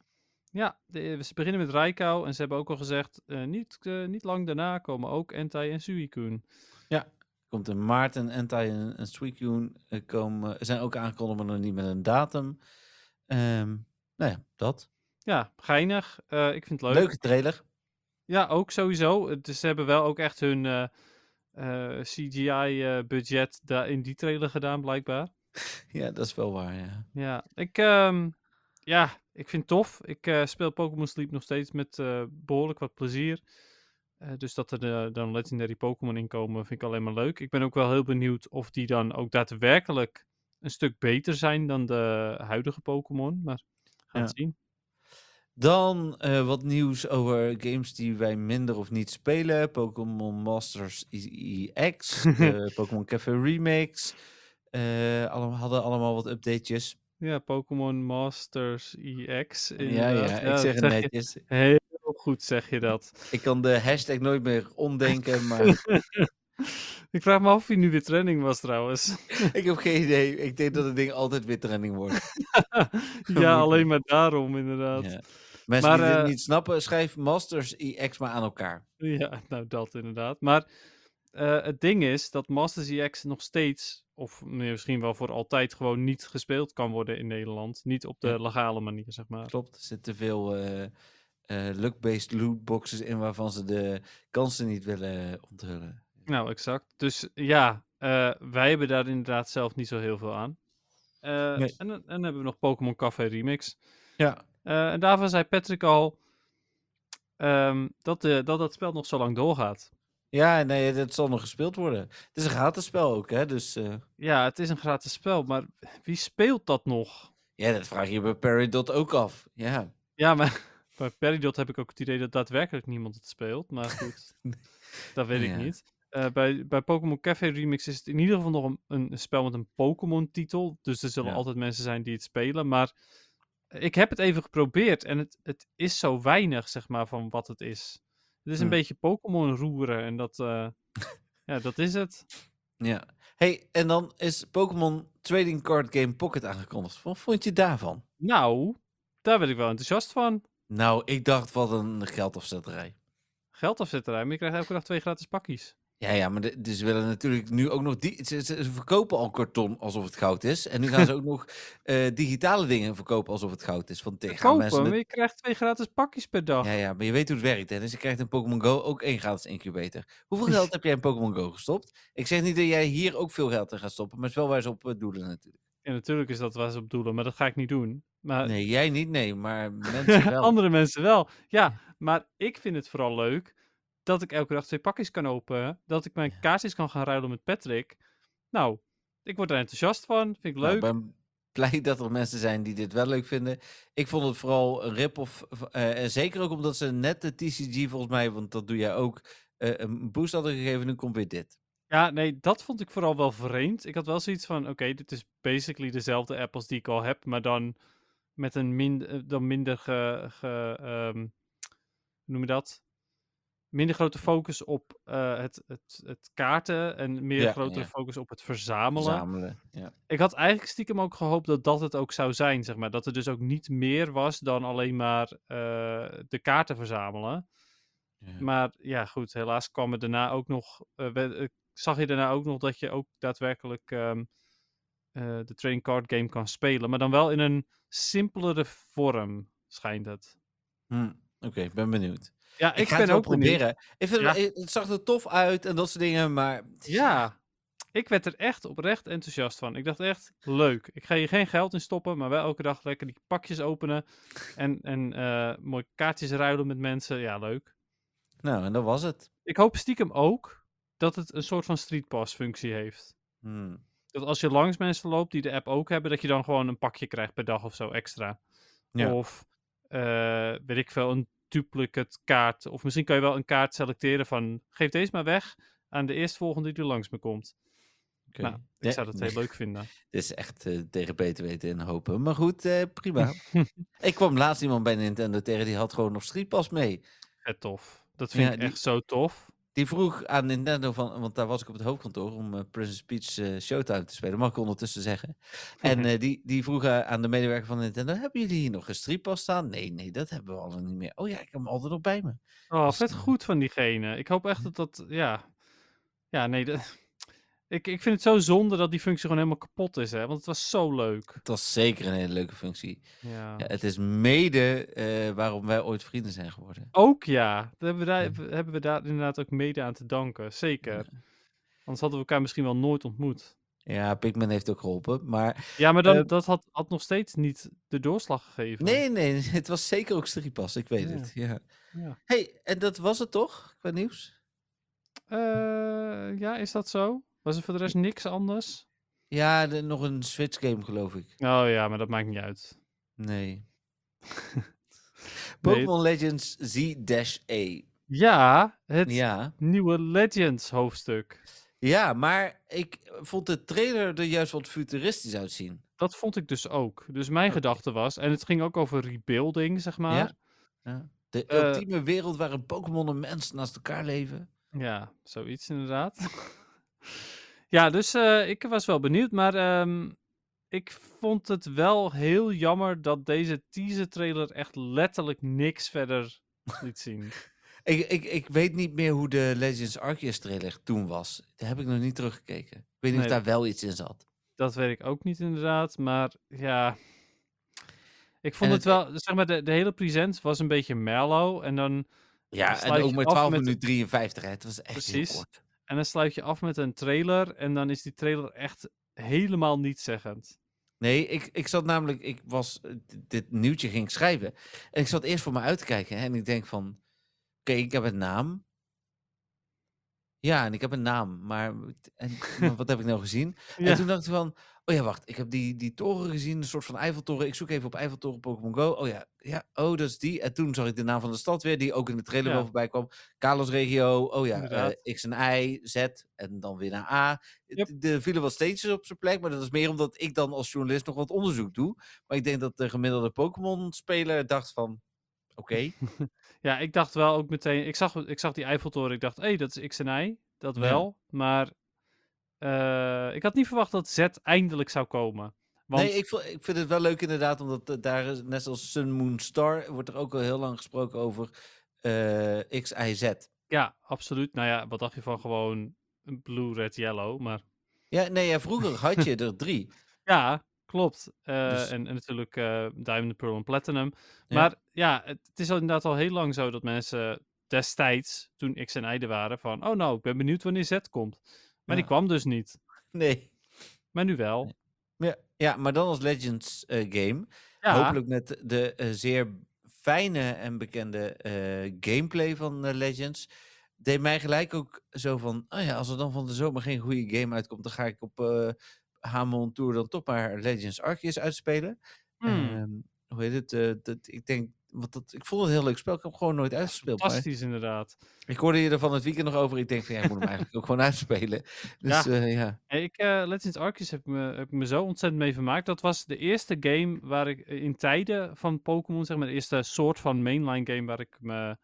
S4: Ja, de- ze beginnen met Raikou en ze hebben ook al gezegd, eh, niet, eh, niet lang daarna komen ook Entei en Suicune.
S3: Komt in maart en Entei en, en Suicune eh, komen, zijn ook aangekondigd, maar nog niet met een datum. Ehm nou ja, dat.
S4: Ja, geinig. Eh, ik vind het leuk.
S3: Leuke trailer.
S4: Ja, ook sowieso. Eh, Dus ze hebben wel ook echt hun eh, CGI-budget eh, daar in die trailer gedaan, blijkbaar.
S3: Ja, dat is wel waar, ja.
S4: Ja, ik, ehm, ja, ik vind het tof. Ik eh, speel Pokémon Sleep nog steeds met eh, behoorlijk wat plezier. Eh, dus dat er eh, dan Legendary Pokémon in komen, vind ik alleen maar leuk. Ik ben ook wel heel benieuwd of die dan ook daadwerkelijk een stuk beter zijn dan de huidige Pokémon. Maar we gaan
S3: Ja.
S4: het zien.
S3: Dan eh, wat nieuws over games die wij minder of niet spelen. Pokémon Masters E EX, de eh, Pokémon Café Remix. Eh, allemaal, hadden allemaal wat updatejes.
S4: Ja, Pokémon Masters E EX.
S3: Ja,
S4: inderdaad.
S3: ja, ik zeg het
S4: eh, dat je
S3: netjes.
S4: Heel goed zeg je dat.
S3: Ik kan de hashtag nooit meer omdenken, maar
S4: Ik vraag me af of hij nu weer trending was trouwens.
S3: ik heb geen idee. Ik denk dat het ding altijd weer trending wordt.
S4: ja, alleen maar daarom inderdaad.
S3: Ja. Mensen die
S4: Maar,
S3: dit
S4: eh,
S3: niet snappen, schrijf Masters EX maar aan elkaar.
S4: Ja, nou dat inderdaad. Maar eh, het ding is dat Masters EX nog steeds, of nee, misschien wel voor altijd, gewoon niet gespeeld kan worden in Nederland. Niet op de
S3: Ja.
S4: legale manier, zeg maar.
S3: Klopt, er zitten veel eh eh, luck-based lootboxes in waarvan ze de kansen niet willen onthullen.
S4: Nou, exact. Dus ja, eh, wij hebben daar inderdaad zelf niet zo heel veel aan. Eh,
S3: Nee.
S4: en, dan- en dan hebben we nog Pokémon Café Remix.
S3: Ja,
S4: Eh, en daarvan zei Patrick al ehm, dat, de, dat dat spel nog zo lang doorgaat.
S3: ja nee, dat zal nog gespeeld worden. Het is een gatenspel ook, hè? Dus eh,
S4: Ja, het is een gratis spel, maar wie speelt dat nog?
S3: ja, dat vraag je bij Peridot ook af. Ja,
S4: Ja, maar bij Peridot heb ik ook het idee dat daadwerkelijk niemand het speelt. Maar goed, dat weet ik
S3: Ja.
S4: niet. Eh, bij bij Pokémon Café Remix is het in ieder geval nog een, een spel met een Pokémon-titel. Dus er zullen
S3: Ja.
S4: altijd mensen zijn die het spelen. Maar ik heb het even geprobeerd en het, het is zo weinig, zeg maar, van wat het is. Het is een
S3: Hm.
S4: beetje Pokémon roeren en dat, eh, ja, dat is het.
S3: ja. hey, en dan is Pokémon Trading Card Game Pocket aangekondigd. Wat vond je daarvan?
S4: Nou, daar ben ik wel enthousiast van.
S3: Nou, ik dacht wat een geldafzetterij.
S4: Geld afzetterij, maar je krijgt elke dag twee gratis pakjes.
S3: Ja, ja, maar de- dus ze willen natuurlijk nu ook nog... Die, ze, ze- ze verkopen al karton alsof het goud is. En nu gaan ze ook nog eh, digitale dingen verkopen alsof het goud is. Van tegen gaan
S4: Kopen,
S3: mensen... met-
S4: maar je krijgt twee gratis pakjes per dag.
S3: Ja, ja, maar je weet hoe het werkt, hè? Dus je krijgt in Pokémon Go ook één gratis incubator. Hoeveel geld heb jij in Pokémon Go gestopt? Ik zeg niet dat jij hier ook veel geld in gaat stoppen, maar het is wel waar ze op eh, doelen natuurlijk.
S4: Ja, natuurlijk is dat waar ze op doelen, maar dat ga ik niet doen. Maar
S3: Nee, jij niet, nee, maar mensen wel.
S4: andere mensen wel. Ja, maar ik vind het vooral leuk dat ik elke dag twee pakjes kan openen. Dat ik mijn kaartjes kan gaan ruilen met Patrick. Nou, ik word er enthousiast van. Vind ik
S3: Nou,
S4: leuk.
S3: ik ben blij dat er mensen zijn die dit wel leuk vinden. Ik vond het vooral een rip-off. v- eh, en zeker ook omdat ze net de TCG volgens mij, want dat doe jij ook, eh, een boost hadden gegeven. Nu komt weer dit.
S4: Ja, nee, dat vond ik vooral wel vreemd. Ik had wel zoiets van, oké, dit is basically dezelfde app als die ik al heb, maar dan met een min, eh, dan minder, ge, ge- ehm, hoe noem je dat? Minder grote focus op eh, het, het, het kaarten en meer
S3: Ja,
S4: grotere
S3: ja.
S4: focus op het verzamelen.
S3: Verzamelen. Ja.
S4: Ik had eigenlijk stiekem ook gehoopt dat dat het ook zou zijn, zeg maar. Dat er dus ook niet meer was dan alleen maar eh, de kaarten verzamelen. Maar ja, goed, helaas kwam er daarna ook nog. eh, we- eh, zag je daarna ook nog dat je ook daadwerkelijk ehm, eh, de trading card game kan spelen. Maar dan wel in een simpelere vorm, schijnt het.
S3: Hm, Oké, ik ben benieuwd.
S4: Ja, ik,
S3: Ik, ga
S4: ben
S3: het wel
S4: ook benieuwd.
S3: proberen. Ik vind
S4: Ja.
S3: het, het zag er tof uit en dat soort dingen, maar
S4: Ja, ik werd er echt oprecht enthousiast van. Ik dacht echt, leuk. Ik ga hier geen geld in stoppen, maar wel elke dag lekker die pakjes openen. En, en eh mooi kaartjes ruilen met mensen. Ja, leuk.
S3: nou, en dat was het.
S4: Ik hoop stiekem ook dat het een soort van street pass functie heeft.
S3: Hm.
S4: Dat als je langs mensen loopt die de app ook hebben, dat je dan gewoon een pakje krijgt per dag of zo extra.
S3: Ja.
S4: Of eh, weet ik veel, een duplicate kaart. Of misschien kan je wel een kaart selecteren van geef deze maar weg aan de eerstvolgende die er langs me komt.
S3: Oké.
S4: Nou, Ik
S3: Ja,
S4: zou dat heel leuk vinden.
S3: Dit is echt eh, tegen beter weten en hopen. Maar goed, eh, prima. ik kwam laatst iemand bij Nintendo tegen, die had gewoon nog Street Pass mee.
S4: Vet tof. Dat vind
S3: Ja,
S4: ik
S3: die-
S4: echt zo tof.
S3: Die vroeg aan Nintendo van, want daar was ik op het hoofdkantoor om eh, Princess Peach eh, Showtime te spelen, mag ik ondertussen zeggen. En eh, die, die vroeg eh, aan de medewerker van Nintendo: Hebben jullie hier nog een strippas staan? Nee, nee, dat hebben we al niet meer. Oh ja, ik heb hem altijd nog bij me.
S4: Oh,
S3: Dus
S4: vet
S3: dan-
S4: goed van diegene. Ik
S3: Hm.
S4: hoop echt dat dat, ja. Ja, nee. dat- Ik, ik vind het zo zonde dat die functie gewoon helemaal kapot is, hè. Want het was zo leuk.
S3: Het was zeker een hele leuke functie.
S4: Ja.
S3: Ja, het is mede eh, waarom wij ooit vrienden zijn geworden.
S4: Ook ja, dat hebben we, daar, hebben we daar inderdaad ook mede aan te danken. Zeker. Anders hadden we elkaar misschien wel nooit ontmoet.
S3: Ja, Pikmin heeft ook geholpen, maar
S4: Ja, maar dan,
S3: Eh,
S4: dat had, had nog steeds niet de doorslag gegeven.
S3: nee, nee, het was zeker ook strippas. Ik weet
S4: Ja.
S3: het. Ja.
S4: Ja.
S3: Hey, en dat was het toch qua nieuws?
S4: Eh, ja, is dat zo? Was er voor de rest niks anders?
S3: Ja, de- nog een Switch game geloof ik.
S4: Oh ja, maar dat maakt niet uit.
S3: Nee. Pokémon Legends Z-A.
S4: Ja, het
S3: Ja.
S4: nieuwe Legends hoofdstuk.
S3: ja, maar ik vond de trailer er juist wat futuristisch uitzien.
S4: Dat vond ik dus ook. Dus mijn
S3: Oké.
S4: gedachte was, en het ging ook over rebuilding, zeg maar.
S3: Ja. De
S4: Eh,
S3: ultieme wereld waarin Pokémon en mensen naast elkaar leven.
S4: Ja, zoiets inderdaad. ja, dus eh, ik was wel benieuwd, maar ehm, ik vond het wel heel jammer dat deze teaser trailer echt letterlijk niks verder liet zien.
S3: Ik, ik, ik weet niet meer hoe de Legends Arceus trailer toen was. Daar heb ik nog niet teruggekeken. Ik weet niet
S4: Nee.
S3: of daar wel iets in zat.
S4: Dat weet ik ook niet inderdaad, maar ja. Ik vond
S3: En het-
S4: het, wel, zeg maar, de, de hele present was een beetje mellow en dan,
S3: Ja, en
S4: sluit
S3: ook
S4: je
S3: maar
S4: af
S3: 12
S4: met-
S3: minuten 53. Hè. Het was echt
S4: Precies.
S3: heel kort.
S4: en dan sluit je af met een trailer en dan is die trailer echt helemaal nietszeggend.
S3: Nee, ik, ik zat namelijk, ik was, eh, d- dit nieuwtje ging ik schrijven. En ik zat eerst voor me uit te kijken. hè, En ik denk van, oké, ik heb een naam. Ja, en ik heb een naam. Maar, het- en, maar wat heb ik nou gezien?
S4: Ja.
S3: En toen dacht ik van, oh ja, wacht. Ik heb die, die toren gezien, een soort van Eiffeltoren. Ik zoek even op Eiffeltoren Pokémon Go. Oh ja, ja, oh, dat is die. En toen zag ik de naam van de stad weer, die ook in de trailer
S4: Ja.
S3: wel voorbij kwam. Kalos regio, oh ja, eh,
S4: Inderdaad.
S3: X en Y, Z en dan weer naar A.
S4: Yep.
S3: D- Er vielen wat steentjes op zijn plek, maar dat is meer omdat ik dan als journalist nog wat onderzoek doe. Maar ik denk dat de gemiddelde Pokémon-speler dacht van, oké,
S4: Ja, ik dacht wel ook meteen. Ik zag, ik zag die Eiffeltoren. Ik dacht, hé, hey, dat is X en Y. Dat
S3: Ja.
S4: wel. Maar eh, ik had niet verwacht dat Z eindelijk zou komen. Want
S3: Nee, ik, vo- ik vind het wel leuk inderdaad, omdat eh, daar is, net als Sun Moon Star, wordt er ook al heel lang gesproken over eh, X, Y, Z.
S4: ja, absoluut. Nou ja, wat dacht je van gewoon een blue, red, yellow? Maar
S3: Ja, nee, ja, vroeger had je er drie.
S4: ja, klopt. Eh,
S3: Dus-
S4: en, en natuurlijk eh Diamond, Pearl en Platinum.
S3: Ja.
S4: Maar ja, het, het is al inderdaad al heel lang zo dat mensen destijds, toen X en Y er waren, van oh nou, ik ben benieuwd wanneer Z komt. Maar die
S3: Ja.
S4: kwam dus niet.
S3: Nee.
S4: Maar nu wel.
S3: Ja, ja, maar dan als Legends eh, game.
S4: Ja,
S3: Hopelijk met de eh, zeer fijne en bekende eh, gameplay van eh, Legends. deed mij gelijk ook zo van, oh ja, als er dan van de zomer geen goede game uitkomt, dan ga ik op eh Hamon Tour dan toch maar Legends Arceus uitspelen.
S4: Hmm,
S3: Ehm, hoe heet het? eh, dat, ik denk, want dat, ik vond het een heel leuk spel. Ik heb hem gewoon nooit uitgespeeld. maar
S4: fantastisch inderdaad.
S3: ik hoorde je er van het weekend nog over. Ik denk van, ja, ik moet hem eigenlijk ook gewoon uitspelen. Dus
S4: Ja.
S3: ja, ja.
S4: Hey, Ik, eh, Legends Arceus heb ik me, heb ik me zo ontzettend mee vermaakt. Dat was de eerste game waar ik eh, in tijden van Pokémon, zeg maar, de eerste soort van mainline game waar ik me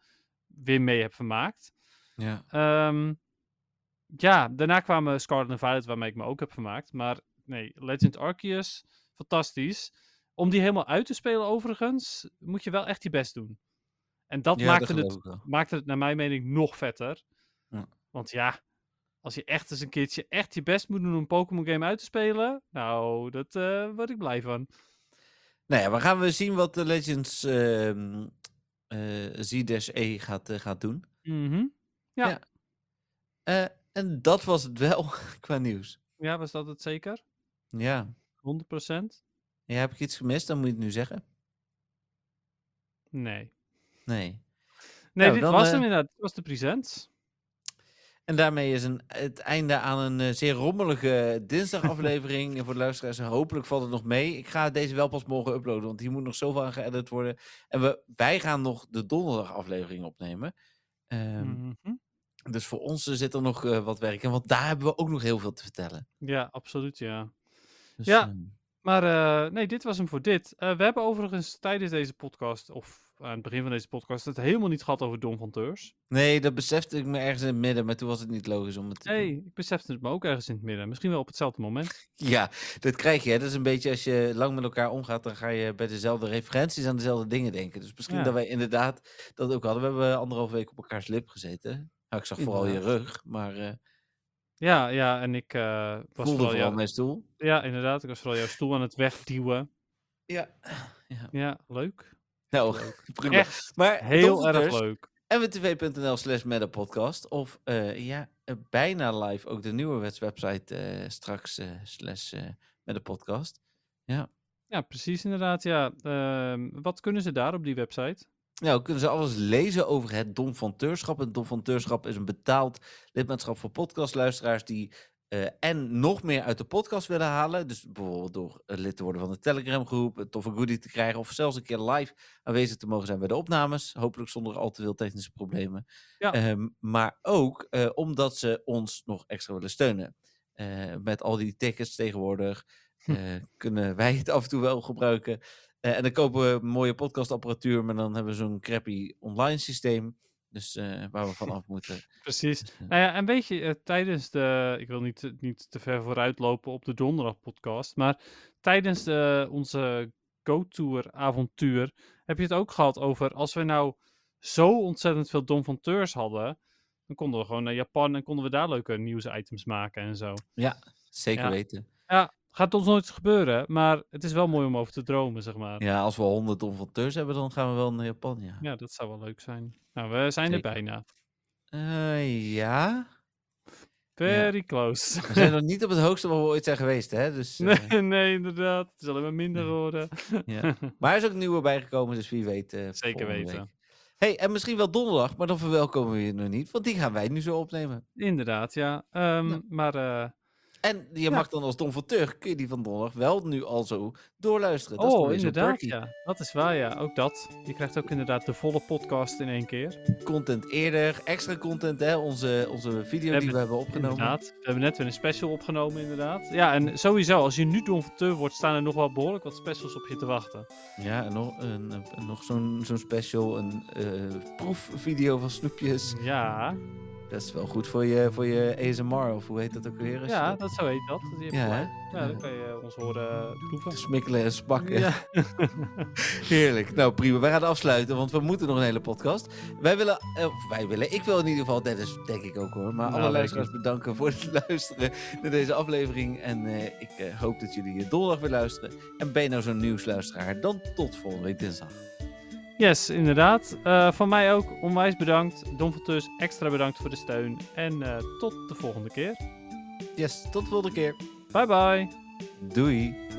S4: weer mee heb vermaakt.
S3: ja.
S4: Ehm, ja, daarna kwamen Scarlet en Violet, waarmee ik me ook heb vermaakt. Maar nee, Legend Arceus, fantastisch. Om die helemaal uit te spelen overigens, moet je wel echt je best doen. En dat
S3: Ja,
S4: maakte,
S3: geloof
S4: het,
S3: ik wel.
S4: maakte het naar mijn mening nog vetter.
S3: Ja.
S4: Want ja, als je echt eens een keertje echt je best moet doen om een Pokémon game uit te spelen, nou, dat eh, word ik blij van.
S3: Nou ja, we gaan we zien wat de Legends ehm eh, Z-E gaat, eh, gaat doen.
S4: Mhm.
S3: Eh, en dat was het wel qua nieuws.
S4: Ja, was dat het zeker? 100%.
S3: Ja. ja, heb ik iets gemist? Dan moet je het nu zeggen.
S4: Nee.
S3: Nee.
S4: Nee,
S3: Nou,
S4: dit
S3: dan,
S4: was
S3: eh,
S4: hem inderdaad. Dit was de present.
S3: En daarmee is een, het einde aan een eh, zeer rommelige dinsdagaflevering. En voor de luisteraars, hopelijk valt het nog mee. Ik ga deze wel pas morgen uploaden, want hier moet nog zoveel aan geëdit worden. En we, wij gaan nog de donderdagaflevering opnemen. Ehm,
S4: Mhm.
S3: Dus voor ons eh, zit er nog eh, wat werk in, want daar hebben we ook nog heel veel te vertellen.
S4: Ja, absoluut, ja.
S3: Dus,
S4: Ja.
S3: ehm,
S4: Maar eh, nee, dit was hem voor dit. Eh, we hebben overigens tijdens deze podcast, of aan het begin van deze podcast, het helemaal niet gehad over Don van Teurs.
S3: nee, dat besefte ik me ergens in het midden, maar toen was het niet logisch om het te doen.
S4: Nee, ik besefte het me ook ergens in het midden. Misschien wel op hetzelfde moment.
S3: Ja, dat krijg je. Hè? Dat is een beetje als je lang met elkaar omgaat, dan ga je bij dezelfde referenties aan dezelfde dingen denken. Dus misschien
S4: Ja.
S3: dat wij inderdaad dat ook hadden. We hebben anderhalf week op elkaars lip gezeten. Nou, ik zag vooral je
S4: Inderdaad.
S3: rug, maar eh
S4: Ja, ja, en ik eh, was
S3: voelde
S4: vooral
S3: vooral
S4: jou,
S3: mijn stoel.
S4: ja, inderdaad, ik was vooral jouw stoel aan het wegduwen.
S3: Ja. ja.
S4: Ja, leuk.
S3: Nou, prima.
S4: Echt
S3: maar
S4: heel
S3: tot het
S4: erg
S3: dus.
S4: leuk.
S3: mwtv.nl slash metapodcast. Of eh, ja, eh, bijna live ook de nieuwe website eh, straks eh slash eh, metapodcast.
S4: Ja, precies inderdaad, ja. Ehm, wat kunnen ze daar op die website?
S3: Nou, kunnen ze alles lezen over het Dom van Teurschap. Het Dom van Teurschap is een betaald lidmaatschap voor podcastluisteraars die eh, en nog meer uit de podcast willen halen. Dus bijvoorbeeld door eh, lid te worden van de Telegram groep, een toffe goodie te krijgen of zelfs een keer live aanwezig te mogen zijn bij de opnames. Hopelijk zonder al te veel technische problemen.
S4: Ja.
S3: Ehm, maar ook eh, omdat ze ons nog extra willen steunen. Eh, met al die tickets tegenwoordig eh, kunnen wij het af en toe wel gebruiken. Eh, en dan kopen we mooie podcastapparatuur, maar dan hebben we zo'n crappy online systeem. Dus eh, waar we vanaf moeten.
S4: Precies.
S3: Dus, eh,
S4: Nou ja, en weet je, eh, tijdens de. Ik wil niet, te- niet te ver vooruitlopen op de donderdagpodcast. Maar tijdens de, onze Go-Tour-avontuur heb je het ook gehad over. Als we nou zo ontzettend veel Don van Teurs hadden. dan konden we gewoon naar Japan en konden we daar leuke nieuwsitems maken en zo.
S3: zeker
S4: ja.
S3: weten.
S4: Gaat ons nooit gebeuren, maar het is wel mooi om over te dromen, zeg maar. Ja,
S3: Ja, als we 100 donfonteurs hebben, dan gaan we wel naar Japan. Ja. Ja.
S4: dat zou wel leuk zijn. Nou, we zijn
S3: Zeker.
S4: er bijna.
S3: Eh, ja.
S4: Very close.
S3: We zijn nog niet op het hoogste waar we ooit zijn geweest, hè? Dus, eh,
S4: Nee, nee, inderdaad. Het is alleen maar minder
S3: Nee.
S4: worden.
S3: ja. Maar er is ook nieuwe bijgekomen, dus wie weet. eh, voor
S4: Zeker
S3: volgende
S4: weten.
S3: week. hey, en misschien wel donderdag, maar dan verwelkomen we je nog niet, want die gaan wij nu zo opnemen.
S4: Inderdaad, ja. Ehm,
S3: Ja.
S4: Maar eh,
S3: En je mag dan als donfonteur, kun je die van donderdag wel nu al zo doorluisteren. Dat is dan
S4: oh,
S3: weer zo'n
S4: inderdaad,
S3: perkie.
S4: ja. Dat is waar, ja. Ook dat. Je krijgt ook inderdaad de volle podcast in één keer.
S3: content eerder, extra content, hè? Onze, onze video
S4: We
S3: die we hebben opgenomen.
S4: Inderdaad. We hebben net weer een special opgenomen, inderdaad. Ja, en sowieso, als je nu donforteur wordt, staan er nog wel behoorlijk wat specials op je te wachten.
S3: Ja, en nog, een, een- nog zo'n zo'n special, een eh, proefvideo van snoepjes.
S4: Ja,
S3: Dat is wel goed voor je, voor je ASMR, of hoe heet dat ook weer? Als je
S4: ja
S3: dat
S4: dat zo heet dat. Je hebt
S3: Ja,
S4: gelijk.
S3: hè?
S4: ja,
S3: Ja.
S4: dan kan je ons horen proeven.
S3: Smikkelen en spakken.
S4: Ja.
S3: Heerlijk. Nou, prima. Wij gaan afsluiten, want we moeten nog een hele podcast. Wij willen, eh, of wij willen, ik wil in ieder geval, dat is denk ik ook hoor, maar
S4: Nou,
S3: alle
S4: weet ik
S3: luisteraars bedanken voor het luisteren naar deze aflevering. En eh, ik eh, hoop dat jullie eh, donderdag weer luisteren. En ben je nou zo'n nieuwsluisteraar, dan tot volgende week dinsdag.
S4: Yes, inderdaad. Eh, van mij ook onwijs bedankt. Donforteurs, extra bedankt voor de steun. En eh, tot de volgende keer.
S3: Yes, tot de volgende keer.
S4: Bye bye.
S3: Doei.